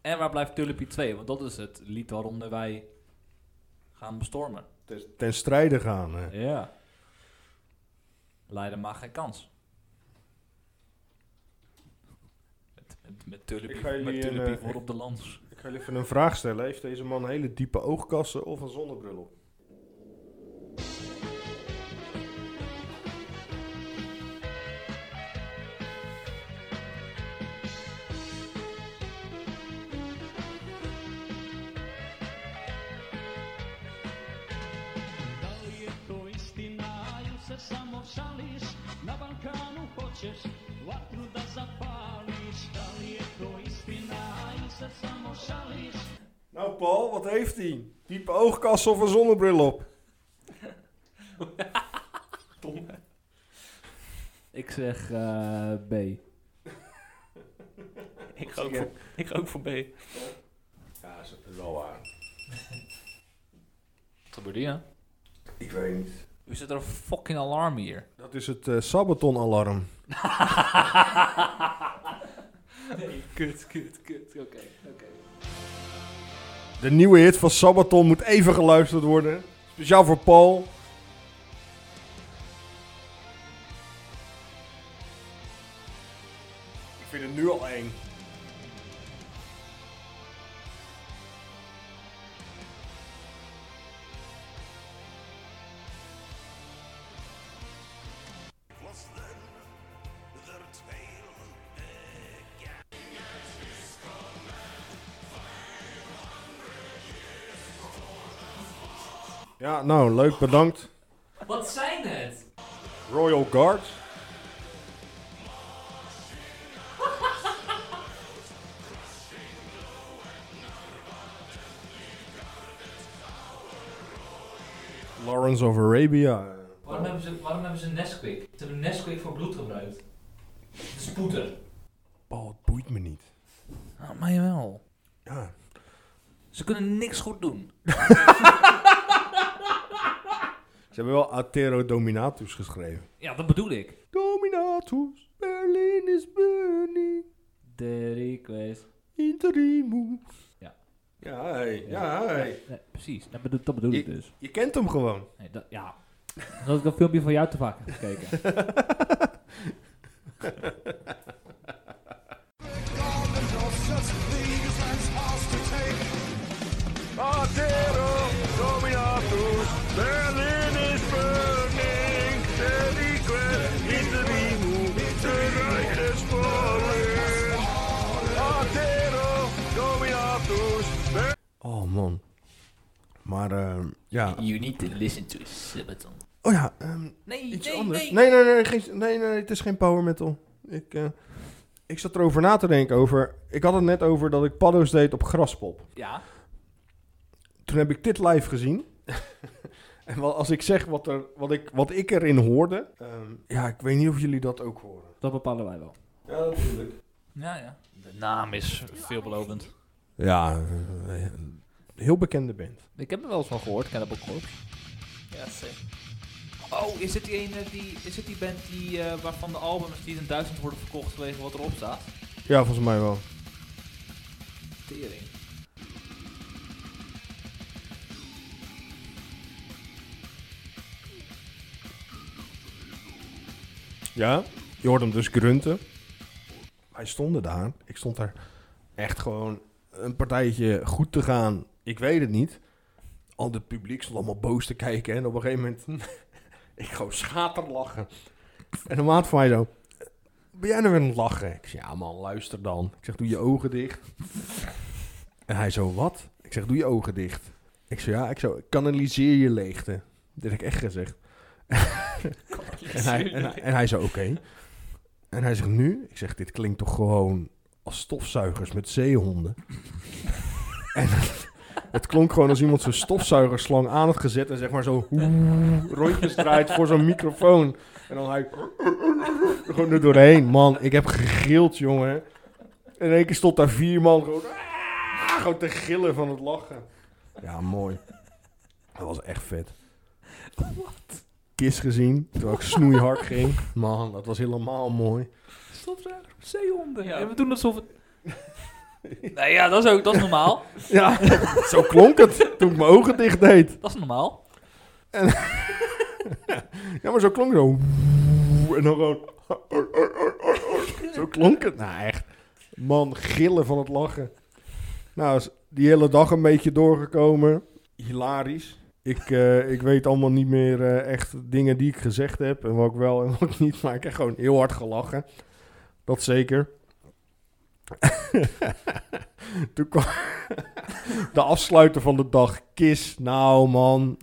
Speaker 2: En waar blijft Tulipie 2? Want dat is het lied waaronder wij gaan bestormen.
Speaker 3: Ten strijde gaan. eh. hè.
Speaker 2: Ja. Leiden mag geen kans. Met, met, met Tulipie,
Speaker 3: Ik ga jullie
Speaker 2: met
Speaker 3: een,
Speaker 2: Tulipie
Speaker 3: eh,
Speaker 2: voor op de lans.
Speaker 3: Ik ga jullie even een vraag stellen. Heeft deze man hele diepe oogkassen of een zonnebril op?
Speaker 7: Da li je to istina ili se samo šališ Na Balkanu hoćeš vatru da zapališ Da li je to istina ili se samo šališ
Speaker 3: Nou Paul, wat heeft hij? Diepe oogkassen of een zonnebril op?
Speaker 2: Ik zeg eh, B.
Speaker 5: Ik ga ook voor, ik ga ook voor B.
Speaker 3: Ja, dat is wel waar.
Speaker 2: Wat gebeurt hier?
Speaker 3: Ik weet niet.
Speaker 2: U zit er een fucking alarm hier.
Speaker 3: Dat is het eh, Sabaton-alarm.
Speaker 2: Nee, kut, kut, kut. Oké, oké.
Speaker 3: De nieuwe hit van Sabaton moet even geluisterd worden. Speciaal voor Paul. Ik vind het nu al eng. Ja, nou, leuk, bedankt.
Speaker 2: Wat zijn het?
Speaker 3: Royal Guard. Lawrence of Arabia.
Speaker 2: Waarom hebben ze, waarom hebben ze Nesquik? Ze hebben Nesquik voor bloed gebruikt. Het is poeder.
Speaker 3: Paul, het boeit me niet.
Speaker 2: Ah, mij wel.
Speaker 3: Ja.
Speaker 2: Ze kunnen niks goed doen.
Speaker 3: Ze hebben wel Atero Dominatus geschreven.
Speaker 2: Ja, dat bedoel ik.
Speaker 3: Dominatus, Berlin is burning,
Speaker 2: De request.
Speaker 3: interimum.
Speaker 2: Ja.
Speaker 3: Ja, hey. Ja, hey.
Speaker 2: Nee, precies, dat bedoel, dat bedoel ik
Speaker 3: Ik-
Speaker 2: dus.
Speaker 3: Je kent hem gewoon.
Speaker 2: Nee, dat, ja. Dan had ik een filmpje van jou te vaak heb gekeken.
Speaker 3: Oh man. Maar ehm, ja.
Speaker 2: You need to listen to Sabaton.
Speaker 3: Oh ja, ehm,
Speaker 2: Nee,
Speaker 3: iets
Speaker 2: nee,
Speaker 3: anders.
Speaker 2: nee.
Speaker 3: Nee, nee, nee, geen, nee, nee, het is geen power metal. Ik, eh, ik zat erover na te denken over. Ik had het net over dat ik paddo's deed op graspop.
Speaker 2: Ja,
Speaker 3: Toen heb ik dit live gezien. en wel, als ik zeg wat, er, wat, ik, wat ik erin hoorde. ehm, ja, ik weet niet of jullie dat ook horen.
Speaker 2: dat bepalen wij wel.
Speaker 3: Ja, natuurlijk.
Speaker 2: Ja, ja. De naam is veelbelovend.
Speaker 3: Ja, eh, een heel bekende band.
Speaker 2: Ik heb er wel eens van gehoord, Cannibal Corpse.
Speaker 5: Ja, C.
Speaker 2: Oh, is het die, ene die, is het die band die, eh, waarvan de albums die in duizend worden verkocht vanwege wat erop staat?
Speaker 3: Ja, volgens mij wel.
Speaker 2: Tering.
Speaker 3: Ja, je hoort hem dus grunten. Wij stonden daar. Ik stond daar echt gewoon een partijtje goed te gaan. Ik weet het niet. Al het publiek stond allemaal boos te kijken. En op een gegeven moment... ik gewoon schaterlachen. En een maat van mij zo... Ben jij nou weer aan het lachen? Ik zeg, ja man, luister dan. Ik zeg, doe je ogen dicht. en hij zo, wat? Ik zeg, doe je ogen dicht. Ik zeg, ja, ik zo, kanaliseer je leegte. Dat heb ik echt gezegd. En hij, en hij, en hij zei, oké. En hij zegt nu, ik zeg, dit klinkt toch gewoon als stofzuigers met zeehonden. en het klonk gewoon als iemand zijn stofzuigerslang aan had gezet en zeg maar zo rondjes draait voor zo'n microfoon. En dan hij gewoon er doorheen. Man, ik heb gegrild, jongen. In één keer stond daar vier man gewoon, "Ah!" gewoon te gillen van het lachen. Ja, mooi. Dat was echt vet. Kis gezien, terwijl ik snoeihard ging. Man, dat was helemaal mooi.
Speaker 2: Stofzuiger, zeehonden.
Speaker 5: Ja.
Speaker 2: En we doen alsof het... nee, ja, dat is ook dat is normaal.
Speaker 3: Ja, zo klonk het toen ik mijn ogen dicht deed.
Speaker 2: Dat is normaal.
Speaker 3: Ja, maar zo klonk het zo. En dan gewoon... Zo klonk het. Nou, echt. Man, gillen van het lachen. Nou, is die hele dag een beetje doorgekomen. Hilarisch. Ik, eh, ik weet allemaal niet meer eh, echt dingen die ik gezegd heb. En wat ik wel en wat ik niet. Maar ik heb gewoon heel hard gelachen. Dat zeker. Toen kwam de afsluiter van de dag. Kis. Nou, man.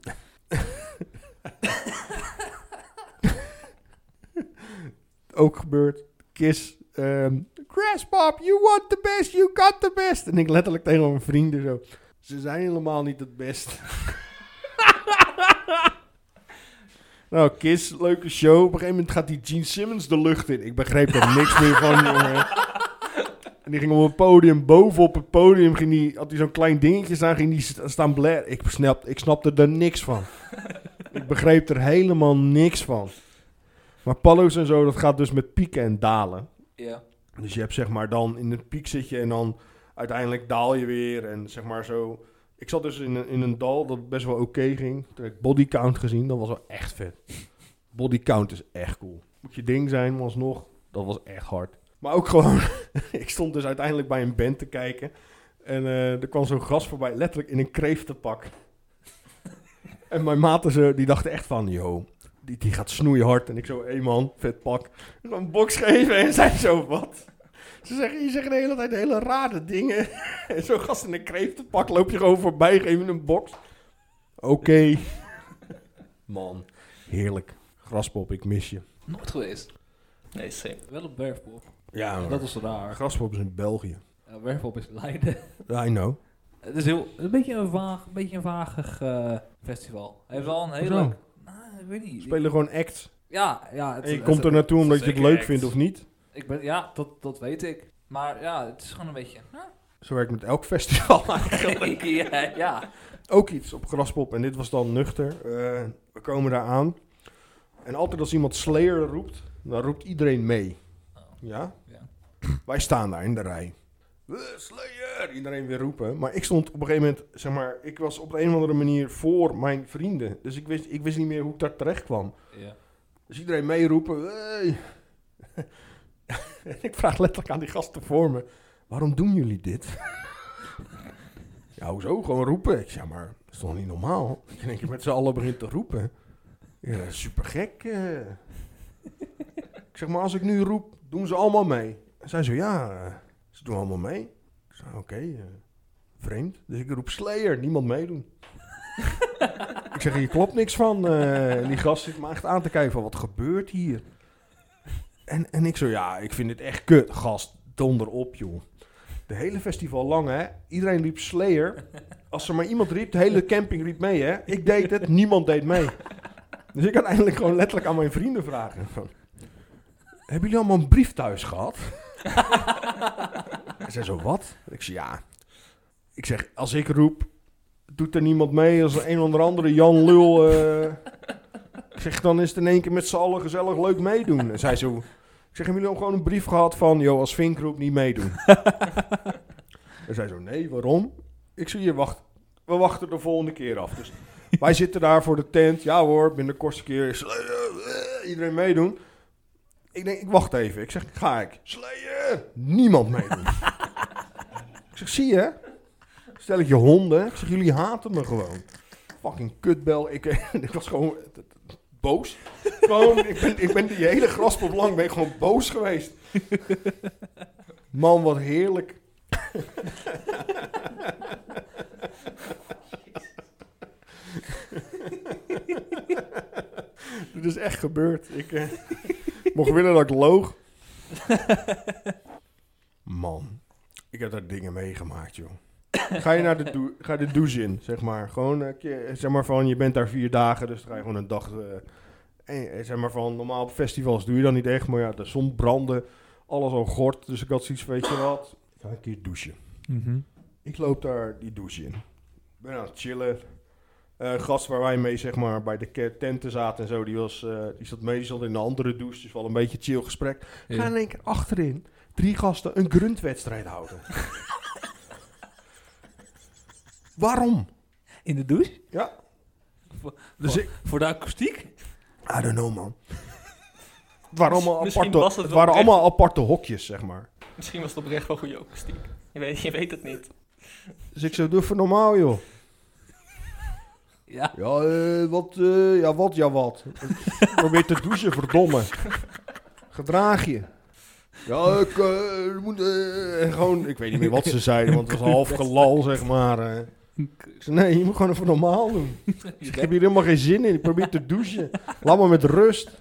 Speaker 3: Ook gebeurd. Kis. ehm Grasspop, you want the best, you got the best. En ik letterlijk tegen mijn vrienden zo. Ze zijn helemaal niet het best. nou, Kiss, leuke show. Op een gegeven moment gaat die Gene Simmons de lucht in. Ik begreep er niks meer van, jongen. En die ging op het podium, bovenop het podium, ging die, had hij zo'n klein dingetje staan, ging die st- staan blaren. Ik, snap, ik snapte er niks van. ik begreep er helemaal niks van. Maar Pallo's en zo, dat gaat dus met pieken en dalen.
Speaker 2: Ja.
Speaker 3: Dus je hebt zeg maar dan in een piek zit je en dan uiteindelijk daal je weer en zeg maar zo. Ik zat dus in een, in een dal dat best wel oké ging. Toen heb ik bodycount gezien, dat was wel echt vet. Bodycount is echt cool. Moet je ding zijn, maar alsnog, dat was echt hard. Maar ook gewoon, ik stond dus uiteindelijk bij een band te kijken. En eh, er kwam zo'n gast voorbij, letterlijk in een kreeftenpak. en mijn maten, ze, die dachten echt van, yo, die, die gaat snoeihard. En ik zo, hé man, vet pak. Gewoon een box geven en zij zo, wat? Ze zeggen, je zegt de hele tijd hele rare dingen. En zo'n gast in een kreeftenpak loop je gewoon voorbij, geef hem een box. Oké. Man, heerlijk. Graspop, ik mis je.
Speaker 2: Nooit geweest.
Speaker 5: Nee, same.
Speaker 2: Wel op werfpop.
Speaker 3: Ja,
Speaker 2: Dat is raar.
Speaker 3: Graspop is in België.
Speaker 2: Ja, werfpop is Leiden.
Speaker 3: I know.
Speaker 2: het is heel, een beetje een vaag, een beetje een vagig eh, festival. Hij heeft wel een hele...
Speaker 3: Hoezo?
Speaker 2: Nou, ik weet niet.
Speaker 3: Spelen gewoon act.
Speaker 2: Ja, ja. Het,
Speaker 3: En je
Speaker 2: het-
Speaker 3: komt er naartoe omdat je het
Speaker 5: zeker
Speaker 3: leuk
Speaker 5: act.
Speaker 3: vindt of niet.
Speaker 2: Ik ben, ja, dat, dat weet ik. Maar ja, het is gewoon een beetje... Nou,
Speaker 3: Zo werkt het met elk festival.
Speaker 2: ja, ja.
Speaker 3: ook iets op Graspop. En dit was dan nuchter. Eh, we komen daar aan. En altijd als iemand Slayer roept, dan roept iedereen mee.
Speaker 2: Oh.
Speaker 3: Ja?
Speaker 2: Ja.
Speaker 3: Wij staan daar in de rij. Eh, Slayer! Iedereen weer roepen. Maar ik stond op een gegeven moment, zeg maar, ik was op de een of andere manier voor mijn vrienden. Dus ik wist, ik wist niet meer hoe ik daar terecht kwam.
Speaker 2: ja.
Speaker 3: Dus iedereen meeroepen. Hey. En ik vraag letterlijk aan die gasten voor me. Waarom doen jullie dit? ja, hoezo? Gewoon roepen. Ik zeg maar, dat is toch niet normaal? Dat je in één keer met z'n allen begint te roepen. Ja, super gek. ik zeg maar, als ik nu roep, doen ze allemaal mee. En zij zo, ja, eh, ze doen allemaal mee. Ik zei, oké, eh, vreemd. Dus ik roep Slayer, niemand meedoen. ik zeg, hier klopt niks van. eh, en die gast zit me echt aan te kijken van, wat gebeurt hier? En, en ik zo, ja, ik vind dit echt kut. Gast, donder op, joh. De hele festival lang, hè. Iedereen riep Slayer. Als er maar iemand riep, de hele camping riep mee, hè. Ik deed het, niemand deed mee. Dus ik had eindelijk gewoon letterlijk aan mijn vrienden vragen. Van, Hebben jullie allemaal een brief thuis gehad? Hij zei zo, wat? Ik zei, ja. Ik zeg, als ik roep, doet er niemand mee. Als er een onder andere Jan Lul... eh, ik zeg, dan is het in één keer met z'n allen gezellig leuk meedoen. En zij zo... Ik zeg, hebben jullie ook gewoon een brief gehad van... joh, als Vinkgroep niet meedoen? en zij zo, nee, waarom? Ik zie je wacht. We wachten de volgende keer af. Dus wij zitten daar voor de tent. Ja hoor, binnen de kortste keer is... eh, Iedereen meedoen. Ik denk, ik wacht even. Ik zeg, ga ik. Slayer! Niemand meedoen. ik zeg, zie je? Stel ik je honden. Ik zeg, jullie haten me gewoon. Fucking kutbel. Ik, ik was gewoon boos. Gewoon, ik ben, ik ben die hele graspop lang ben ik gewoon boos geweest. Man, wat heerlijk. Dit is echt gebeurd. Ik eh, mocht willen dat ik loog. Man, ik heb daar dingen meegemaakt, joh. Ga je naar de, dou- ga de douche in, zeg maar. Gewoon, eh, ke- zeg maar van, je bent daar vier dagen, dus dan ga je gewoon een dag... eh, en, eh, zeg maar van, normaal op festivals doe je dat niet echt, maar ja, de zon brandde, alles al gort. Dus ik had zoiets van, weet je wat, ik ga een keer douchen. Mhm. Ik loop daar die douche in. Ben aan het chillen. Eh gast waar wij mee, zeg maar, bij de ke- tenten zaten en zo, die, was, eh, die zat meestal in een andere douche, dus wel een beetje chill gesprek.
Speaker 2: Ja.
Speaker 3: Gaan in één keer achterin drie gasten een gruntwedstrijd houden. Waarom?
Speaker 2: In de douche?
Speaker 3: Ja.
Speaker 2: Voor,
Speaker 3: Dus
Speaker 2: voor, voor de akoestiek?
Speaker 3: I don't know, man. Het waren allemaal,
Speaker 5: Misschien
Speaker 3: aparte,
Speaker 5: was het
Speaker 3: het
Speaker 5: wel
Speaker 3: waren
Speaker 5: echt.
Speaker 3: allemaal aparte hokjes, zeg maar.
Speaker 5: Misschien was het oprecht wel goede akoestiek. Je weet, je weet het niet.
Speaker 3: Dus ik zo, doe even normaal, joh.
Speaker 2: Ja.
Speaker 3: Ja, eh, wat, eh, ja, wat, ja, wat. Ik Probeer te douchen, verdomme. Gedraag je. Ja, ik eh, moet eh, gewoon... Ik weet niet meer wat ze zeiden, want het was half gelal, zeg maar. eh. Ik zei, nee, je moet gewoon even normaal doen. Dus Ik heb hier helemaal geen zin in. Ik probeer te douchen. Laat me met rust.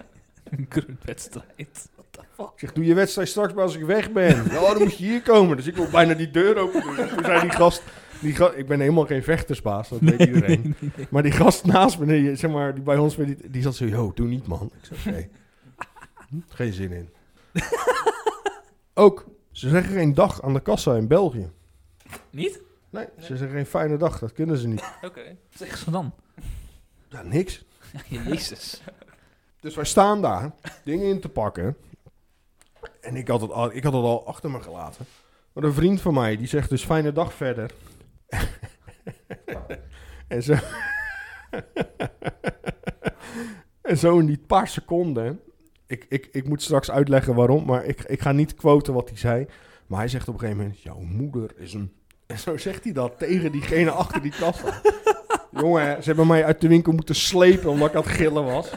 Speaker 2: Een gruntwedstrijd. What the fuck?
Speaker 3: Ik zeg, doe je wedstrijd straks maar als ik weg ben. Ja, dan moet je hier komen. Dus ik wil bijna die deur open doen. Toen zei die gast... Die ga- ik ben helemaal geen vechtersbaas, dat weet iedereen. Maar die gast naast me, die, zeg maar, die bij ons, met die, die zat zo... Yo, doe niet, man. Ik zei, oké. Hm, Geen zin in. Ook, ze zeggen geen dag aan de kassa in België.
Speaker 2: Niet?
Speaker 3: Nee, ze zeggen geen fijne dag. Dat kunnen ze niet.
Speaker 5: Oké.
Speaker 2: Zeg ze dan.
Speaker 3: Ja, niks.
Speaker 2: Jezus.
Speaker 3: Dus wij staan daar dingen in te pakken. En ik had, het al, ik had het al achter me gelaten. Maar een vriend van mij, die zegt dus fijne dag verder. en zo... en zo in die paar seconden... Ik, ik, ik moet straks uitleggen waarom, maar ik, ik ga niet quoten wat hij zei. Maar hij zegt op een gegeven moment, jouw moeder is een... En zo zegt hij dat tegen diegene achter die kassa. Jongen, ze hebben mij uit de winkel moeten slepen omdat ik aan het gillen was.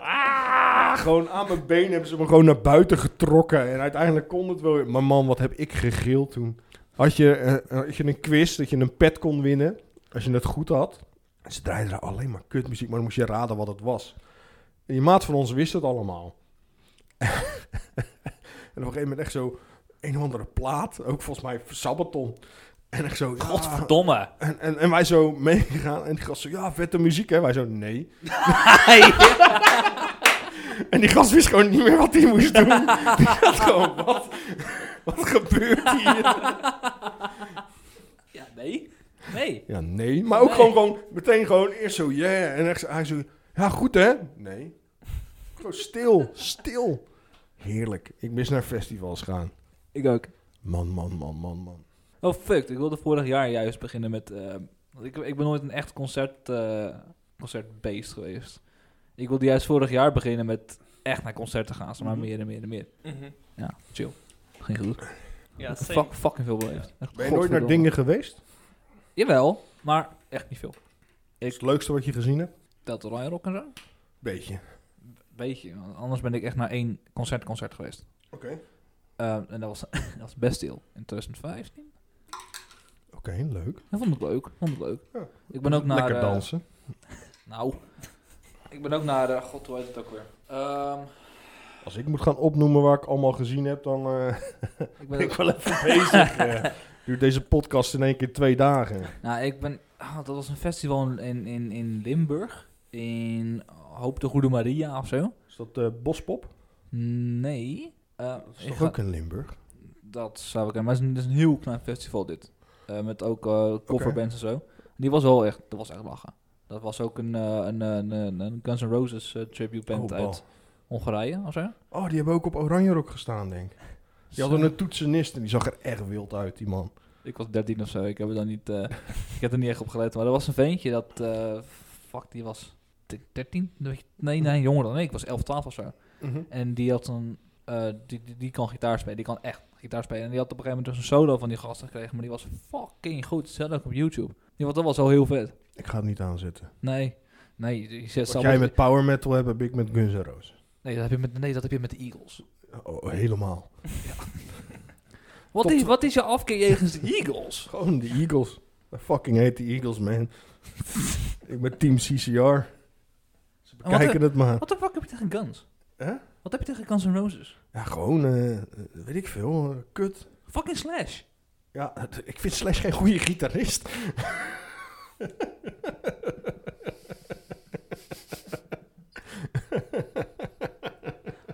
Speaker 3: Ah, gewoon aan mijn been hebben ze me gewoon naar buiten getrokken. En uiteindelijk kon het wel weer. Maar man, wat heb ik gegild toen. Had je, eh, had je een quiz dat je een pet kon winnen. Als je het goed had. En ze draaiden er alleen maar kutmuziek. Maar dan moest je raden wat het was. En die maat van ons wist het allemaal. en op een gegeven moment echt zo... Een of andere plaat. Ook volgens mij Sabaton. En echt zo... ja,
Speaker 2: Ah. Godverdomme.
Speaker 3: en, en, en wij zo meegegaan. En die gast zo, ja, vette muziek, hè? Wij zo, nee. en die gast wist gewoon niet meer wat hij moest doen. Die had gewoon, wat, wat gebeurt hier?
Speaker 2: Ja, nee. Nee.
Speaker 3: Ja, nee. Maar ook
Speaker 2: Nee.
Speaker 3: Gewoon, gewoon, meteen gewoon, eerst zo, yeah. En echt, zo- hij zo, ja, goed, hè? Nee. Gewoon stil, stil. Heerlijk. Ik mis naar festivals gaan.
Speaker 2: Ik ook.
Speaker 3: Man, man, man, man, man.
Speaker 2: Oh fuck, ik wilde vorig jaar juist beginnen met... eh, want ik, ik ben nooit een echt concert, eh, concertbeest geweest. Ik wilde juist vorig jaar beginnen met echt naar concerten gaan. zeg Maar
Speaker 3: Mhm.
Speaker 2: meer en meer en meer.
Speaker 5: Mhm.
Speaker 2: Ja, chill. Geen gedoe.
Speaker 5: Ja, same.
Speaker 2: Fuck, fucking veel beleefd. Echt
Speaker 3: Ben je nooit naar
Speaker 2: godverdomme.
Speaker 3: dingen geweest?
Speaker 2: Jawel, maar echt niet veel.
Speaker 3: Is het leukste wat je gezien hebt?
Speaker 2: Delta Royal Rock en zo?
Speaker 3: Beetje.
Speaker 2: Beetje, want anders ben ik echt naar één concert, concert geweest.
Speaker 3: Oké.
Speaker 2: Eh, en dat was, dat was best stil in 2015.
Speaker 3: Oké, leuk.
Speaker 2: Ik vond het leuk, vond het leuk.
Speaker 3: Ja.
Speaker 2: Ik ben ook naar...
Speaker 3: Lekker
Speaker 2: eh,
Speaker 3: dansen.
Speaker 2: nou, ik ben ook naar... eh, God, hoe heet het ook weer? Ehm,
Speaker 3: Als ik moet gaan opnoemen waar ik allemaal gezien heb, dan eh,
Speaker 2: ik
Speaker 3: ben
Speaker 2: ben
Speaker 3: ik wel even bezig. eh. Duurt deze podcast in één keer twee dagen.
Speaker 2: Nou, ik ben. ah, dat was een festival in, in, in Limburg. In Hoop de Goede Maria of zo.
Speaker 3: Is dat eh, Bospop?
Speaker 2: Nee. eh,
Speaker 3: Dat is
Speaker 2: ik
Speaker 3: toch
Speaker 2: ga-
Speaker 3: ook in Limburg?
Speaker 2: dat zou ik Maar het is, een, het is een heel klein festival dit. Eh, met ook eh coverbands en zo. Die was wel echt. Dat was echt lachen. Dat was ook een, eh, een, eh, een, een, een Guns N' Roses eh, tribute band
Speaker 3: Oh, bal.
Speaker 2: uit Hongarije of zo.
Speaker 3: Oh, die hebben ook op Oranjerok gestaan, denk ik. Die hadden een toetsenist en die zag er echt wild uit, die man.
Speaker 2: Ik was 13 of zo. Ik heb er dan niet. eh, ik heb er niet echt op gelet. Maar er was een ventje dat. eh, fuck, die was 13? Nee, nee, jonger dan ik. Ik was 11, 12 of zo.
Speaker 3: Mhm.
Speaker 2: En die had een. eh, die, die, die kan gitaar spelen. Die kan echt gitaar spelen. En die had op een gegeven moment dus een solo van die gast gekregen. Maar die was fucking goed. Zelf ook op YouTube. Die was, dat was al heel vet.
Speaker 3: Ik ga het niet aanzetten.
Speaker 2: Nee. Nee, je zet
Speaker 3: Wat
Speaker 2: zelf-
Speaker 3: jij met power metal hebt, heb ik met Guns N' Roses.
Speaker 2: nee, dat heb je met, nee, dat heb je met de Eagles.
Speaker 3: Oh, helemaal.
Speaker 2: Wat,
Speaker 3: Tot-
Speaker 2: is, wat is je afkeer jegens de Eagles?
Speaker 3: Gewoon de Eagles. I fucking hate the Eagles, man. ik ben team CCR. Ze
Speaker 2: En wat,
Speaker 3: bekijken het maar.
Speaker 2: wat de fuck heb je tegen Guns?
Speaker 3: Hè?
Speaker 2: Wat Wat heb je tegen Guns N' Roses?
Speaker 3: Ja, gewoon, eh, weet ik veel, eh, kut.
Speaker 2: Fucking Slash.
Speaker 3: Ja, het- ik vind Slash geen goede gitarist.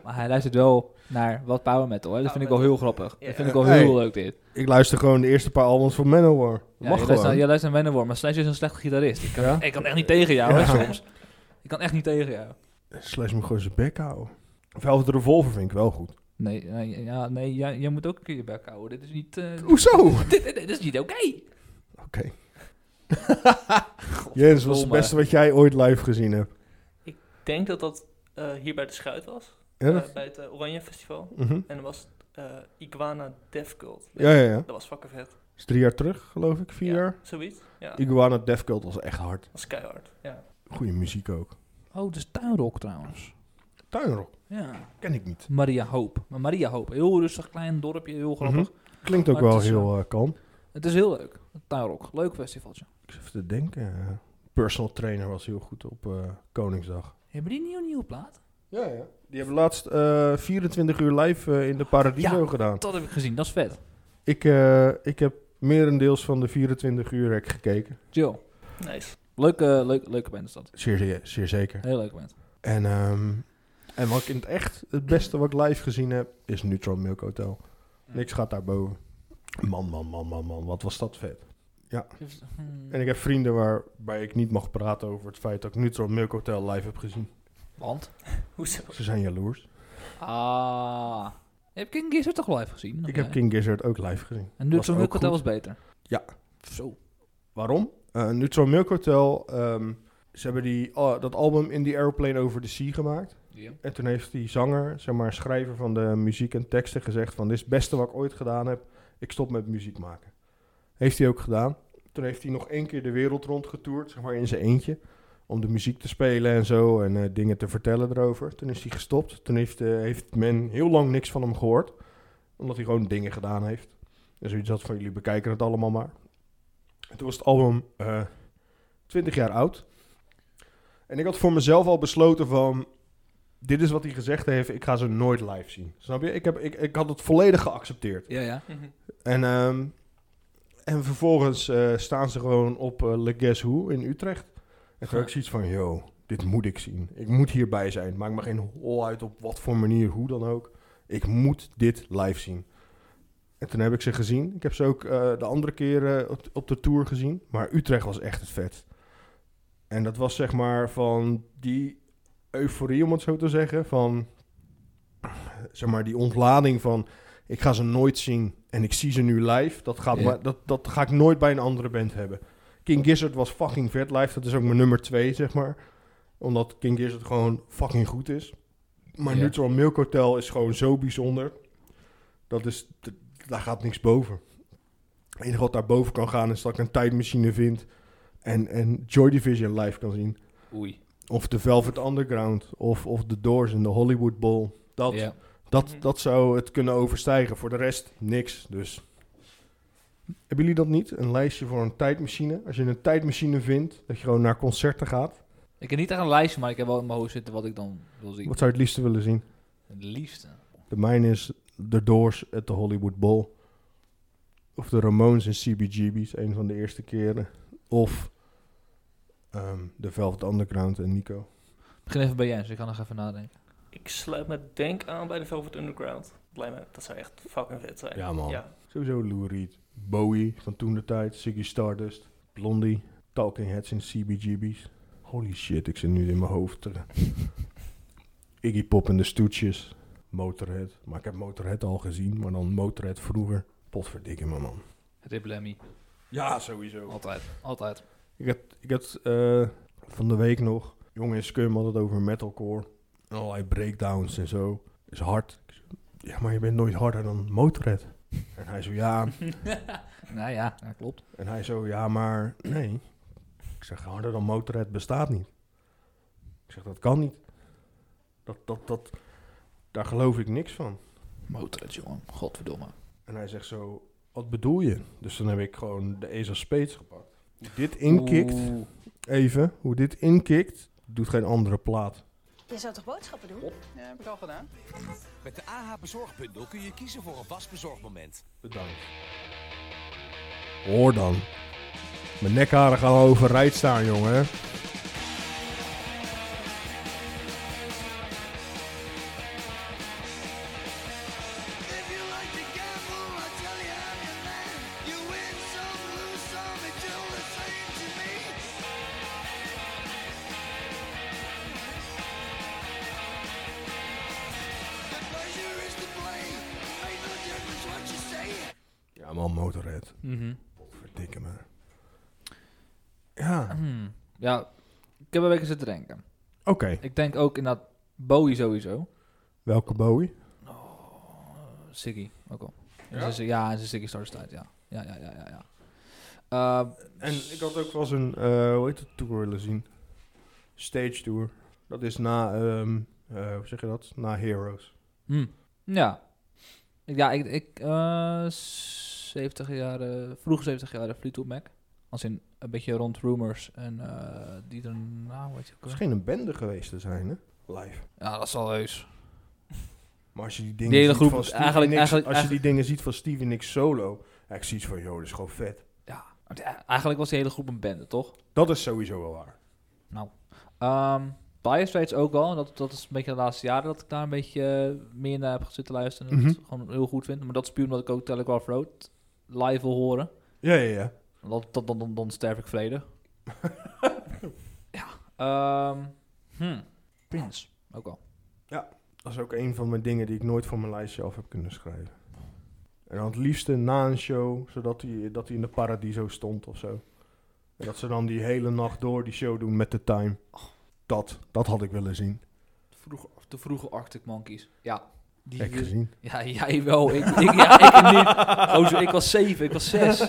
Speaker 8: Maar hij luistert wel naar wat power metal. Hè? Dat
Speaker 5: Power
Speaker 8: vind ik wel
Speaker 5: metal.
Speaker 8: heel grappig.
Speaker 5: Ja.
Speaker 8: Dat vind ik wel
Speaker 3: Hey.
Speaker 8: heel leuk dit.
Speaker 3: Ik luister gewoon de eerste paar albums van Manowar.
Speaker 8: Ja,
Speaker 3: Mag
Speaker 8: je
Speaker 3: gewoon.
Speaker 8: luistert, je luistert naar Manowar, maar Slash is een slechte gitarist. Ik kan,
Speaker 3: Ja?
Speaker 2: Ik kan echt niet tegen jou,
Speaker 3: Ja.
Speaker 2: hè, soms. Ik kan echt niet tegen jou.
Speaker 3: Slash moet gewoon zijn bek houden. Velvet Revolver vind ik wel goed.
Speaker 2: Nee, nee, ja, nee jij, jij moet ook een keer je bek houden. Dit is niet... eh,
Speaker 3: Hoezo? Oké.
Speaker 2: dit, dit- dit is niet oké.
Speaker 3: Jens, wat is het beste wat jij ooit live gezien hebt?
Speaker 5: Ik denk dat dat eh, hier bij de Schuit was.
Speaker 3: Ja,
Speaker 5: eh,
Speaker 3: dat-
Speaker 5: bij het eh, Oranje Festival.
Speaker 3: Mhm.
Speaker 5: En dat was het, eh, Iguana Death Cult.
Speaker 3: ja, ja, ja.
Speaker 5: Dat was fucking vet.
Speaker 3: Dat is drie jaar terug, geloof ik. Vier
Speaker 5: Ja,
Speaker 3: jaar.
Speaker 5: Zoiets. Ja, dat
Speaker 3: Iguana Death Cult was echt hard.
Speaker 5: was keihard. Ja.
Speaker 3: Goede muziek ook.
Speaker 2: Oh, dat is tuinrock trouwens.
Speaker 3: Tuinrock,
Speaker 2: Ja.
Speaker 3: ken ik niet.
Speaker 2: Maria Hoop. Maar Maria Hoop, heel rustig, klein dorpje, heel grappig.
Speaker 8: Mhm.
Speaker 3: Klinkt ook
Speaker 2: Maar
Speaker 3: wel
Speaker 2: het is,
Speaker 3: heel eh, kalm.
Speaker 2: Het is heel leuk. Tuinrock, leuk festivaltje.
Speaker 3: Ik zit even te denken. Personal Trainer was heel goed op eh, Koningsdag.
Speaker 2: Hebben die niet een nieuwe plaat?
Speaker 3: Ja, ja. Die hebben laatst eh, 24 uur live eh, in de Paradiso
Speaker 2: Ja.
Speaker 3: gedaan.
Speaker 2: Dat heb ik gezien, dat is vet.
Speaker 3: Ik, eh, ik heb merendeels van de 24 uur heb ik gekeken.
Speaker 2: Chill.
Speaker 5: Nice.
Speaker 2: Leuke, leuk, leuke band is dat.
Speaker 3: Zeer, zeer, zeer zeker.
Speaker 2: Heel leuke band.
Speaker 3: En, ehm, en wat ik in het echt het beste wat ik live gezien heb, is Neutral Milk Hotel. Niks gaat daarboven. Man, man, man, man, man, wat was dat vet.
Speaker 2: Hmm.
Speaker 3: En ik heb vrienden waarbij ik niet mag praten over het feit dat ik Neutral Milk Hotel live heb gezien.
Speaker 2: Want?
Speaker 5: Hoezo?
Speaker 3: Ze zijn jaloers.
Speaker 2: Ah. Heb King Gizzard toch wel even gezien? Eh,
Speaker 3: Ik heb King Gizzard ook live gezien.
Speaker 2: En nu
Speaker 3: Was
Speaker 2: zo'n
Speaker 3: ook
Speaker 2: Milk Hotel
Speaker 3: goed.
Speaker 2: was beter.
Speaker 3: Ja.
Speaker 2: Zo.
Speaker 3: Waarom? Eh Neutral Milk Hotel, ehm, ze hebben die, ah, dat album In The Airplane Over The Sea gemaakt. En toen heeft die zanger, zeg maar schrijver van de muziek en teksten gezegd van... dit is het beste wat ik ooit gedaan heb, ik stop met muziek maken. Heeft hij ook gedaan. Toen heeft hij nog één keer de wereld rondgetoerd, zeg maar in zijn eentje... om de muziek te spelen en zo en eh, dingen te vertellen erover. Toen is hij gestopt. Toen heeft, eh, heeft men heel lang niks van hem gehoord. Omdat hij gewoon dingen gedaan heeft. En zoiets had van jullie bekijken het allemaal maar. En toen was het album eh 20 jaar oud. En ik had voor mezelf al besloten van dit is wat hij gezegd heeft, ik ga ze nooit live zien. Snap je? Ik, heb, ik, ik had het volledig geaccepteerd.
Speaker 2: Ja, ja.
Speaker 5: Mhm.
Speaker 3: En, ehm, en vervolgens eh, staan ze gewoon op eh Le Guess Who in Utrecht. En toen had ik zoiets van, yo, dit moet ik zien. Ik moet hierbij zijn. Het Maakt me geen hol uit op wat voor manier, hoe dan ook. Ik moet dit live zien. En toen heb ik ze gezien. Ik heb ze ook eh, de andere keren op, op de tour gezien. Maar Utrecht was echt het vet. En dat was zeg maar van die euforie, om het zo te zeggen. Van zeg maar die ontlading van ik ga ze nooit zien en ik zie ze nu live. Dat, gaat
Speaker 2: Ja.
Speaker 3: maar, dat, dat ga ik nooit bij een andere band hebben. King Gizzard was fucking vet live. Dat is ook mijn nummer twee, zeg maar. Omdat King Gizzard gewoon fucking goed is. Maar
Speaker 2: Ja.
Speaker 3: Neutral Milk Hotel is gewoon zo bijzonder. Dat is, d- daar gaat niks boven. Het enige wat daarboven kan gaan is dat ik een tijdmachine vind. En, en Joy Division live kan zien.
Speaker 2: Oei.
Speaker 3: Of The Velvet Underground. Of, of The Doors en de Hollywood Bowl. Dat,
Speaker 2: Ja.
Speaker 3: dat, dat zou het kunnen overstijgen. Voor de rest niks. Dus. Hebben jullie dat niet? Een lijstje voor een tijdmachine? Als je een tijdmachine vindt, dat je gewoon naar concerten gaat.
Speaker 2: Ik heb niet echt een lijstje, maar ik heb wel in mijn hoofd zitten wat ik dan wil zien.
Speaker 3: Wat zou je het liefste willen zien?
Speaker 2: Het liefste.
Speaker 3: De mijne is The Doors at the Hollywood Bowl. Of de Ramones en CBGB's, een van de eerste keren. Of ehm The Velvet Underground en Nico.
Speaker 2: Begin even bij Jens, ik kan nog even nadenken.
Speaker 5: Ik sluit me denk aan bij de Velvet Underground. Dat lijkt me- Dat zou echt fucking vet zijn.
Speaker 3: Ja, man.
Speaker 5: Ja.
Speaker 3: Sowieso Lou Reed, Bowie van toen de tijd, Ziggy Stardust, Blondie, Talking Heads en CBGB's. Holy shit, ik zit nu in mijn hoofd. te- Iggy Pop en de Stoetjes, Motorhead. Maar ik heb Motorhead al gezien, maar dan Motorhead vroeger. Potverdikke me man.
Speaker 2: Rip Lemmy.
Speaker 3: Ja, sowieso.
Speaker 2: Altijd. Altijd.
Speaker 3: Ik had, ik had eh, van de week nog, jongen in Scum had het over metalcore. En allerlei breakdowns en zo. Is hard. Ik zei, Ja, maar je bent nooit harder dan Motorhead. En hij zo, ja.
Speaker 2: nou ja, dat klopt.
Speaker 3: En hij zo, ja, maar nee. Ik zeg, harder dan Motorhead bestaat niet. Ik zeg, dat kan niet. Dat, dat, dat, daar geloof ik niks van.
Speaker 2: Motorhead, jongen. Godverdomme.
Speaker 3: En hij zegt zo, wat bedoel je? Dus dan heb ik gewoon de Ace of Spades gepakt. Hoe Dit inkikt, even, hoe dit inkikt, doet geen andere plaat.
Speaker 9: Je zou toch boodschappen doen?
Speaker 4: Ja, heb ik al gedaan.
Speaker 10: Met de AH Bezorgbundel kun je kiezen voor een vast bezorgmoment.
Speaker 3: Bedankt. Hoor dan. Mijn nekharen gaan al overrijd staan, jongen.
Speaker 6: If you like to gamble, I tell you I'm your man. You win some, lose some, it's all the same to me. The pleasure is to play. It made no difference what you say.
Speaker 3: Ja, man, motorhead.
Speaker 2: Mhm.
Speaker 3: Verdikke me. Ja,
Speaker 2: Hmm. Ja, ik heb een beetje zitten denken.
Speaker 3: oké.
Speaker 2: Ik denk ook in dat Bowie sowieso.
Speaker 3: Welke Bowie?
Speaker 2: Siggy ook al.
Speaker 1: Ja?
Speaker 2: Ja, ja en zijn Siggy Stardust ja. Ja, ja, ja, ja. ja. Eh,
Speaker 3: En ik had ook wel eens een, eh, hoe heet het, tour willen zien. Stage tour. Dat is na, ehm, eh, hoe zeg je dat? Na Heroes.
Speaker 2: hm. Ja. Ik- Ja, ik... ik eh, 70 jaar... eh, vroeg 70 jaar Fleetwood Mac. Als in een beetje rond Rumors en eh, die daarna, weet je ook
Speaker 3: Het is
Speaker 2: wel.
Speaker 3: geen een bende geweest te zijn, hè? Live.
Speaker 2: Ja, dat zal heus.
Speaker 3: Maar als je die dingen,
Speaker 2: Die hele
Speaker 3: ziet,
Speaker 2: groep,
Speaker 3: van Stevie
Speaker 2: eigenlijk-
Speaker 3: Nicks,
Speaker 2: eigenlijk-
Speaker 3: als je die dingen ziet van Stevie Nicks solo, ja, ik zie iets van, joh, dat is gewoon vet.
Speaker 2: Ja. Ja, Eigenlijk was die hele groep een bende, toch?
Speaker 3: Dat is sowieso wel waar.
Speaker 2: Ehm Bias Rates ook wel. Dat, dat is een beetje de laatste jaren dat ik daar een beetje eh, meer naar heb zitten luisteren. En dat ik het gewoon heel goed vind. Maar dat is puur omdat ik ook Telegraph Road live wil horen.
Speaker 3: Ja, ja, ja.
Speaker 2: Dan, dan, dan, dan, dan sterf ik vrede. ja. ehm, hm. Prince ook al.
Speaker 3: Dat is ook een van mijn dingen die ik nooit van mijn lijstje af heb kunnen schrijven. En dan het liefste na een show, zodat hij, dat hij in de Paradiso stond of zo. En dat ze dan die hele nacht door die show doen met de time. Dat, dat had ik willen zien.
Speaker 2: Vroeg, de vroege Arctic Monkeys. Ja. Die dus-
Speaker 3: Heb ik gezien.
Speaker 2: ja, jij wel. Ik, ik, ja, ik niet. Gozer, ik was zeven, ik was zes.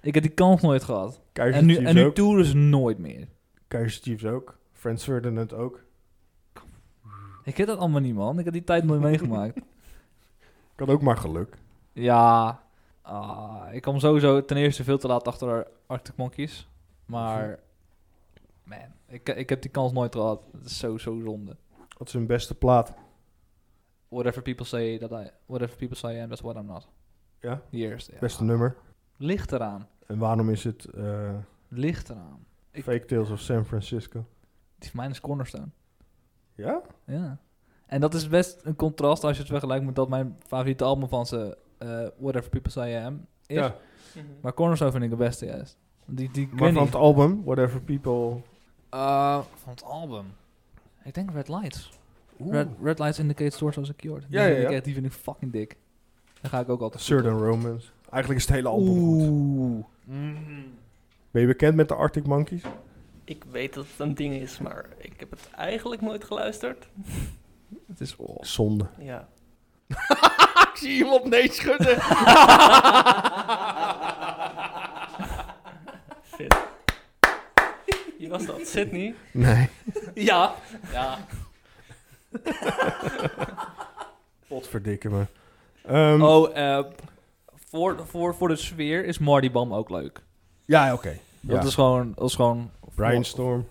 Speaker 2: ik heb die kans nooit gehad.
Speaker 3: Keizer
Speaker 2: En nu,
Speaker 3: Chiefs
Speaker 2: en nu
Speaker 3: dus ook.
Speaker 2: toeren ze nooit meer.
Speaker 3: Keizer Chiefs ook. Frans Ferdinand ook.
Speaker 2: Ik heb dat allemaal niet, man. Ik heb die tijd nooit meegemaakt.
Speaker 3: Ik had ook maar geluk.
Speaker 2: Ja, ah, ik kwam sowieso ten eerste veel te laat achter Arctic Monkeys. Maar, man, ik, ik heb die kans nooit gehad. Het is zo, zo zonde.
Speaker 3: Dat is hun beste plaat.
Speaker 2: Whatever people say, that I, whatever people say I am, that's what I'm not.
Speaker 3: Ja?
Speaker 2: Die eerste, ja.
Speaker 3: Beste nummer.
Speaker 2: Ligt eraan.
Speaker 3: En waarom is het eh,
Speaker 2: Ligt eraan. Ik-
Speaker 3: Fake Tales of San Francisco?
Speaker 2: Die van mij is Cornerstone.
Speaker 3: Ja?
Speaker 2: Ja. En dat is best een contrast als je het vergelijkt met dat mijn favoriete album van ze, eh, Whatever People Say I Am, is.
Speaker 3: Ja.
Speaker 5: Mhm.
Speaker 2: Maar Cornerstone vind ik het beste juist. Die, die, ik
Speaker 3: Maar
Speaker 2: weet
Speaker 3: van
Speaker 2: niet.
Speaker 3: het album, Whatever People...
Speaker 2: Eh, van het album. Ik denk Red Lights. Red, Red Lights Indicate Stores was Secured. Die
Speaker 3: Ja, ja,
Speaker 2: vind ik
Speaker 3: ja.
Speaker 2: echt- Die vind ik fucking dik. Daar ga ik ook altijd
Speaker 3: Certain Romance. Eigenlijk is het hele album goed.
Speaker 2: Oeh. Mm.
Speaker 3: Ben je bekend met de Arctic Monkeys?
Speaker 5: Ik weet dat het een ding is, maar ik heb het eigenlijk nooit geluisterd.
Speaker 2: Het is... Oh.
Speaker 3: Zonde.
Speaker 5: Ja.
Speaker 3: Ik zie iemand nee schudden.
Speaker 5: Wie was dat? Sydney?
Speaker 3: Nee.
Speaker 5: Ja. Ja.
Speaker 3: Potverdikke me. Ehm,
Speaker 2: Oh, eh, voor, voor, voor de sfeer is Marty Bam ook leuk.
Speaker 3: Ja, oké.
Speaker 2: Dat
Speaker 3: Ja.
Speaker 2: is gewoon... Dat is gewoon
Speaker 3: Brian Storm.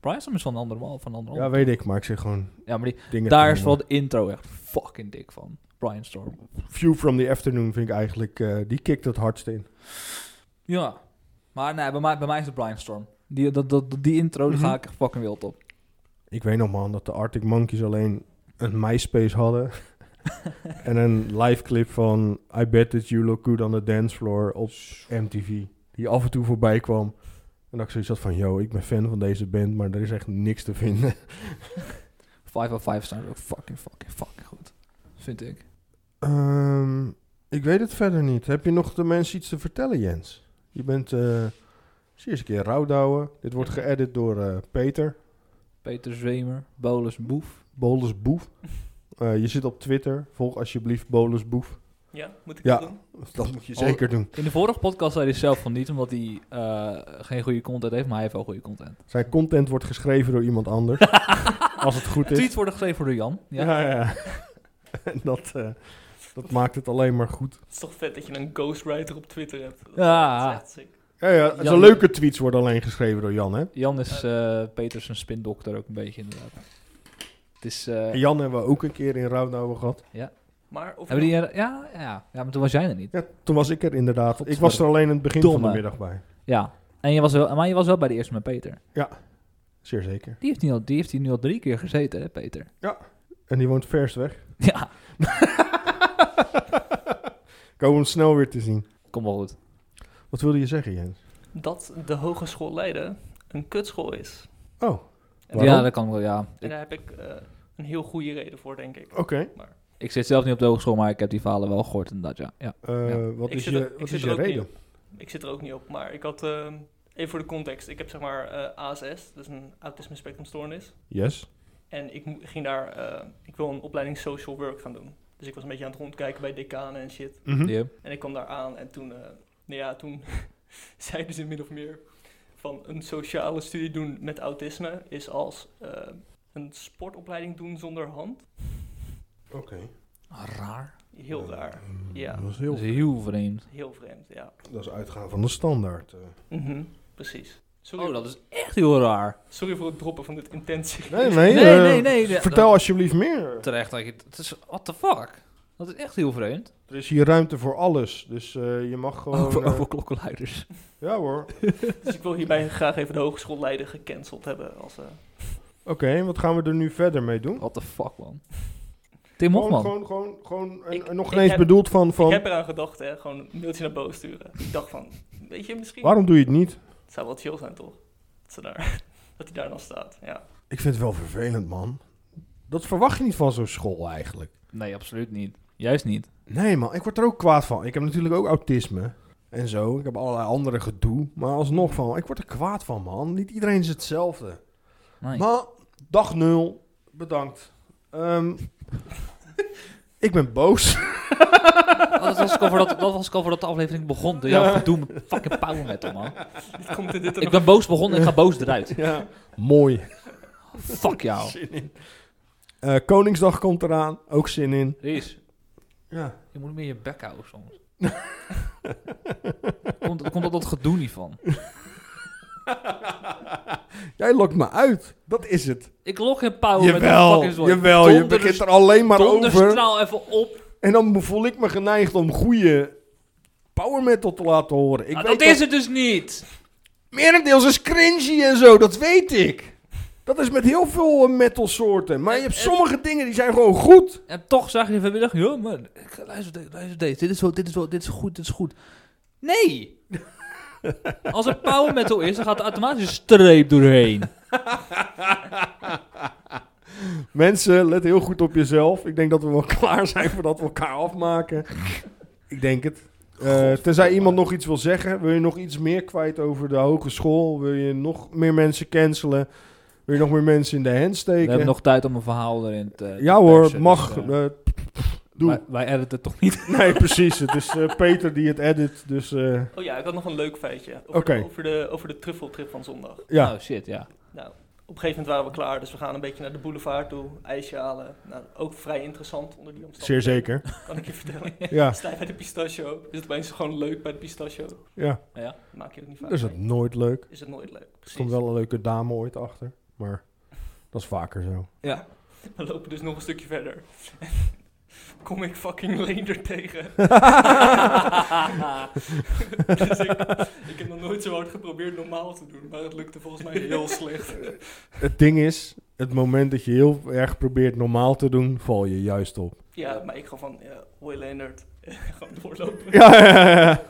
Speaker 2: Brian Storm is van een andere man. Van een andere
Speaker 3: Ja,
Speaker 2: man.
Speaker 3: weet ik, maar ik zeg gewoon
Speaker 2: ja, maar die,
Speaker 3: dingen.
Speaker 2: Oh. daar
Speaker 3: te
Speaker 2: is wel
Speaker 3: noemen.
Speaker 2: de intro echt fucking dik van. Brian Storm.
Speaker 3: View from the Afternoon vind ik eigenlijk... eh, die kikt het hardst in.
Speaker 2: Ja. Maar nee, bij mij, bij mij is het Brian Storm. Die, dat, dat, die intro daar ga ik echt fucking wild op.
Speaker 3: Ik weet nog man dat de Arctic Monkeys alleen een MySpace hadden. en een live clip van I Bet That You Look Good on the Dance Floor op MTV. Die af en toe voorbij kwam. En dat ik zoiets had van, yo, ik ben fan van deze band, maar er is echt niks te vinden.
Speaker 2: 505 staan ook fucking, fucking, fucking goed. Vind ik.
Speaker 3: Ehm, ik weet het verder niet. Heb je nog de mensen iets te vertellen, Jens? Je bent, eh, zie eens een keer rouwdouwen. Dit wordt geëdit door eh, Peter,
Speaker 2: Peter Zwemer, Bolus Boef.
Speaker 3: Bolus Boef. Eh, je zit op Twitter. Volg alsjeblieft Bolus Boef.
Speaker 5: Ja, moet ik
Speaker 3: Ja.
Speaker 5: dat doen?
Speaker 3: Dat moet je
Speaker 2: Oh.
Speaker 3: zeker doen.
Speaker 2: In de vorige podcast zei hij zelf van niet, omdat hij eh, geen goede content heeft, maar hij heeft wel goede content.
Speaker 3: Zijn content wordt geschreven door iemand anders. als het goed is.
Speaker 2: Tweets worden geschreven door Jan. Ja.
Speaker 3: Ja, ja. En dat, eh, dat maakt het alleen maar goed.
Speaker 5: Het is toch vet dat je een ghostwriter op Twitter hebt. Dat
Speaker 2: Ja.
Speaker 5: is echt sick.
Speaker 3: Ja, ja,
Speaker 2: Jan-
Speaker 3: zijn leuke tweets worden alleen geschreven door Jan, hè?
Speaker 2: Jan is eh Peters een spindokter ook een beetje inderdaad. Het is... eh,
Speaker 3: En Jan hebben we ook een keer in Rauwnauwe gehad.
Speaker 5: Maar of
Speaker 2: hebben die er, ja, ja, ja, maar toen was jij er niet.
Speaker 3: Ja, toen was ik er inderdaad.
Speaker 2: God,
Speaker 3: ik was er alleen in het begin van
Speaker 2: domme.
Speaker 3: de middag bij.
Speaker 2: Ja. En je was wel, maar je was wel bij de eerste met Peter.
Speaker 3: Zeer zeker.
Speaker 2: Die heeft, nu al, die heeft hier nu al drie keer gezeten, hè, Peter?
Speaker 3: En die woont vers weg.
Speaker 2: Ja,
Speaker 3: Ik hoop hem snel weer te zien.
Speaker 2: kom wel goed.
Speaker 3: Wat wilde je zeggen, Jens?
Speaker 5: nou dat de Hogeschool Leiden een kutschool is.
Speaker 3: Oh,
Speaker 5: En,
Speaker 3: Waarom?
Speaker 2: Ja, dat kan wel, ja.
Speaker 5: en
Speaker 2: Ik,
Speaker 5: daar heb ik eh, een heel goede reden voor, denk ik.
Speaker 3: oké.
Speaker 2: ik zit zelf niet op de hogeschool, maar ik heb die verhalen wel gehoord inderdaad, ja. ja.
Speaker 3: Eh,
Speaker 2: Ja.
Speaker 3: Wat
Speaker 5: Ik
Speaker 3: is
Speaker 5: zit er-
Speaker 3: je,
Speaker 5: ik
Speaker 3: wat
Speaker 5: zit
Speaker 3: is
Speaker 5: er
Speaker 3: je
Speaker 5: ook niet
Speaker 3: reden?
Speaker 5: Ik zit er ook niet op, maar ik had, eh, even voor de context, ik heb zeg maar eh, ASS, dat is een autisme spectrumstoornis.
Speaker 3: Yes.
Speaker 5: En ik mo- ging daar, eh, ik wil een opleiding social work gaan doen. Dus ik was een beetje aan het rondkijken bij decanen en shit.
Speaker 3: Mhm.
Speaker 2: Die-
Speaker 5: En ik kwam daar aan en toen, eh, nou ja, toen zeiden ze min of meer van een sociale studie doen met autisme is als eh, een sportopleiding doen zonder hand.
Speaker 3: Oké.
Speaker 2: eh,
Speaker 3: Mm,
Speaker 2: Raar.
Speaker 5: Heel raar. Ja.
Speaker 3: Dat is,
Speaker 2: Dat
Speaker 3: heel,
Speaker 2: is heel vreemd.
Speaker 5: Heel vreemd, ja.
Speaker 3: dat is uitgaan van de standaard. eh.
Speaker 5: Mhm, Precies. Sorry,
Speaker 2: Oh, dat is echt heel raar.
Speaker 5: sorry voor het droppen van dit intensie.
Speaker 3: Nee,
Speaker 2: Nee,
Speaker 3: nee,
Speaker 2: nee,
Speaker 3: eh,
Speaker 2: nee, nee, nee.
Speaker 3: Vertel alsjeblieft meer.
Speaker 2: Terecht dat je... Het is... What the fuck? Dat is echt heel vreemd.
Speaker 3: Er is hier ruimte voor alles, dus eh, je mag gewoon...
Speaker 2: Over,
Speaker 3: eh,
Speaker 2: over klokkenluiders.
Speaker 3: ja hoor. Oké,
Speaker 5: Dus ik wil hierbij graag even de hogeschool Leiden gecanceld hebben. Als, eh,
Speaker 3: en wat gaan we er nu verder mee doen?
Speaker 2: What the fuck, man. Tim
Speaker 3: Gewoon,
Speaker 2: Hofman.
Speaker 3: gewoon, gewoon, gewoon en,
Speaker 5: Ik-
Speaker 3: en nog
Speaker 5: ik
Speaker 3: ineens
Speaker 5: heb-
Speaker 3: bedoeld van, van
Speaker 5: Ik heb eraan gedacht, hè. Gewoon een mailtje naar boven sturen. Ik dacht van, weet je, misschien...
Speaker 3: waarom doe je het niet?
Speaker 5: Het zou wel chill zijn, toch? Dat, ze daar, dat hij daar dan staat, ja.
Speaker 3: Ik vind het wel vervelend, man. Dat verwacht je niet van zo'n school eigenlijk.
Speaker 2: Nee, absoluut niet. Juist niet.
Speaker 3: Nee man, ik word er ook kwaad van. Ik heb natuurlijk ook autisme en zo. Ik heb allerlei andere gedoe. Maar alsnog van, ik word er kwaad van man. Niet iedereen is hetzelfde.
Speaker 2: Nee.
Speaker 3: Maar, dag nul, bedankt. Ehm, ik ben boos.
Speaker 2: Oh, dat, was ik al voordat, dat was ik al voordat de aflevering begon. Door jouw gedoe met fucking power metal, man.
Speaker 5: Dit komt in dit er
Speaker 2: Ik
Speaker 5: nog...
Speaker 2: ben boos begonnen en ik ga boos eruit.
Speaker 3: ja. Mooi.
Speaker 2: Fuck jou.
Speaker 3: Zin in. Eh, Koningsdag komt eraan, ook zin in.
Speaker 2: Ries,
Speaker 3: Ja.
Speaker 2: je moet meer je bek houden soms. komt, komt dat dat gedoe niet van?
Speaker 3: Jij lokt me uit. Dat is het.
Speaker 2: Ik log geen power met
Speaker 3: Jawel,
Speaker 2: fucking zooi.
Speaker 3: jawel. Je
Speaker 2: Donders-
Speaker 3: begint er alleen maar over.
Speaker 2: Donderstraal even op.
Speaker 3: En dan voel ik me geneigd om goede power metal te laten horen. Ik
Speaker 2: Nou,
Speaker 3: weet
Speaker 2: dat is het dus niet.
Speaker 3: Merendeels is cringy en zo, dat weet ik. Dat is met heel veel eh, metalsoorten. Maar je hebt sommige dingen die zijn gewoon goed.
Speaker 2: En toch zag je vanmiddag, joh man, ik, luister, de- luister deze. Dit is, wel, dit, is wel, dit is goed, dit is goed. Nee. Als er power metal is, dan gaat er automatisch een streep doorheen.
Speaker 3: Mensen, let heel goed op jezelf. Ik denk dat we wel klaar zijn voordat we elkaar afmaken. Ik denk het. Eh tenzij iemand nog iets wil zeggen. Wil je nog iets meer kwijt over de hogeschool? Wil je nog meer mensen cancelen? Wil je nog meer mensen in de hand
Speaker 2: We
Speaker 3: steken?
Speaker 2: hebben nog tijd om een verhaal erin te
Speaker 3: eh, ja
Speaker 2: te
Speaker 3: hoor,
Speaker 2: persen,
Speaker 3: mag.
Speaker 2: dus, eh,
Speaker 3: Eh, doe.
Speaker 2: Wij, wij editen het toch niet?
Speaker 3: nee, precies. Het is eh, Peter die het edit. Dus eh,
Speaker 5: Oh ja, ik had nog een leuk feitje. Over,
Speaker 3: Oké.
Speaker 5: de, over, de, over de truffeltrip van zondag.
Speaker 3: ja.
Speaker 2: Oh shit, ja.
Speaker 5: Op een gegeven moment waren we klaar, dus we gaan een beetje naar de boulevard toe. Ijsje halen. Nou, ook vrij interessant onder die
Speaker 3: Zeer
Speaker 5: omstandigheden.
Speaker 3: zeker.
Speaker 5: Kan ik je vertellen.
Speaker 3: Ja,
Speaker 5: Sta je bij de pistachio. Is het opeens gewoon leuk bij de pistachio?
Speaker 3: ja. Dus
Speaker 5: Maak je het niet vaak
Speaker 3: Dat is het
Speaker 5: mee.
Speaker 3: nooit leuk.
Speaker 5: Is het nooit leuk.
Speaker 3: Er
Speaker 5: Precies.
Speaker 3: komt wel een leuke dame ooit achter. Maar dat is vaker zo.
Speaker 5: We lopen dus nog een stukje verder. Kom ik fucking Leender tegen. dus ik, ik heb nog nooit zo hard geprobeerd normaal te doen, maar het lukte volgens mij heel slecht.
Speaker 3: Het ding is, het moment dat je heel erg probeert normaal te doen, val je juist op.
Speaker 5: Ja, maar ik ga van, ja, hoi Leendert, gewoon doorlopen.
Speaker 3: Ja, ja, ja, ja.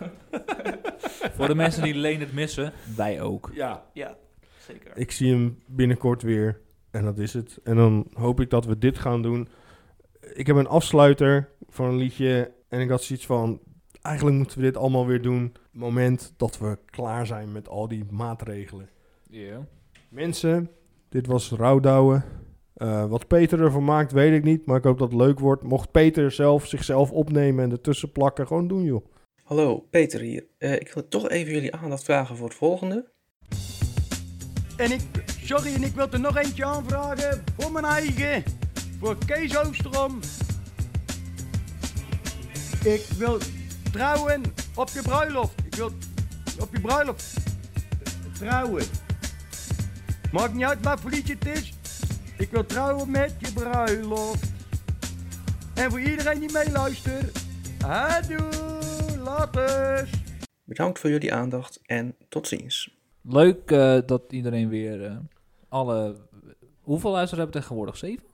Speaker 2: Voor de mensen die Leen het missen, wij ook.
Speaker 3: ja.
Speaker 5: Ja, zeker.
Speaker 3: Ik zie hem binnenkort weer en dat is het. En dan hoop ik dat we dit gaan doen. Ik heb een afsluiter van een liedje en ik had zoiets van, eigenlijk moeten we dit allemaal weer doen. Het moment dat we klaar zijn met al die maatregelen. Mensen, dit was Rauwdouwen. Eh, wat Peter ervan maakt, weet ik niet. Maar ik hoop dat het leuk wordt. Mocht Peter zelf zichzelf opnemen en ertussen plakken, gewoon doen, joh.
Speaker 4: Hallo, Peter hier. Eh, ik wil toch even jullie aandacht vragen voor het volgende.
Speaker 6: En ik, sorry, en ik wil er nog eentje aanvragen voor mijn eigen, voor Kees Oostrom. Ik wil trouwen op je bruiloft. Ik wil op je bruiloft. Trouwen. Maakt niet uit wat voor liedje het is. Ik wil trouwen met je bruiloft. En voor iedereen die meeluistert. Adieu, later.
Speaker 4: Bedankt voor jullie aandacht en tot ziens.
Speaker 2: Leuk eh, dat iedereen weer eh, alle... Hoeveel luisteraars hebben we tegenwoordig? Zeven?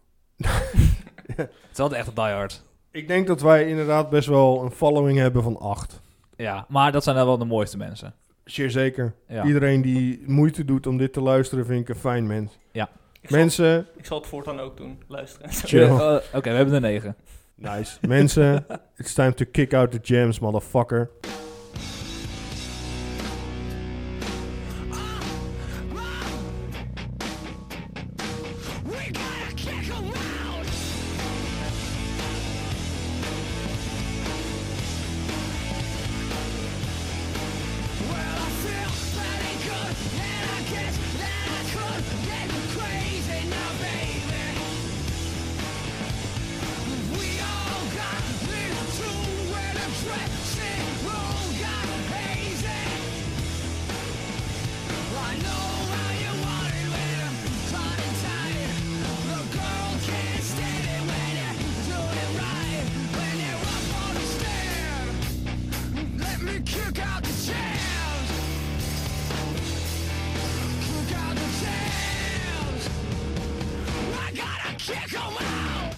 Speaker 2: Het is altijd echt een diehard.
Speaker 3: Ik denk dat wij inderdaad best wel een following hebben van acht.
Speaker 2: Ja, maar dat zijn dan wel de mooiste mensen.
Speaker 3: Zeer zeker.
Speaker 2: Ja.
Speaker 3: Iedereen die moeite doet om dit te luisteren, vind ik een fijn mens.
Speaker 2: Ja.
Speaker 3: Mensen,
Speaker 5: Ik zal het voortaan ook doen, luisteren.
Speaker 3: Chill.
Speaker 2: Eh, eh, Oké, we hebben er negen.
Speaker 3: nice. Mensen, it's time to kick out the jams, motherfucker.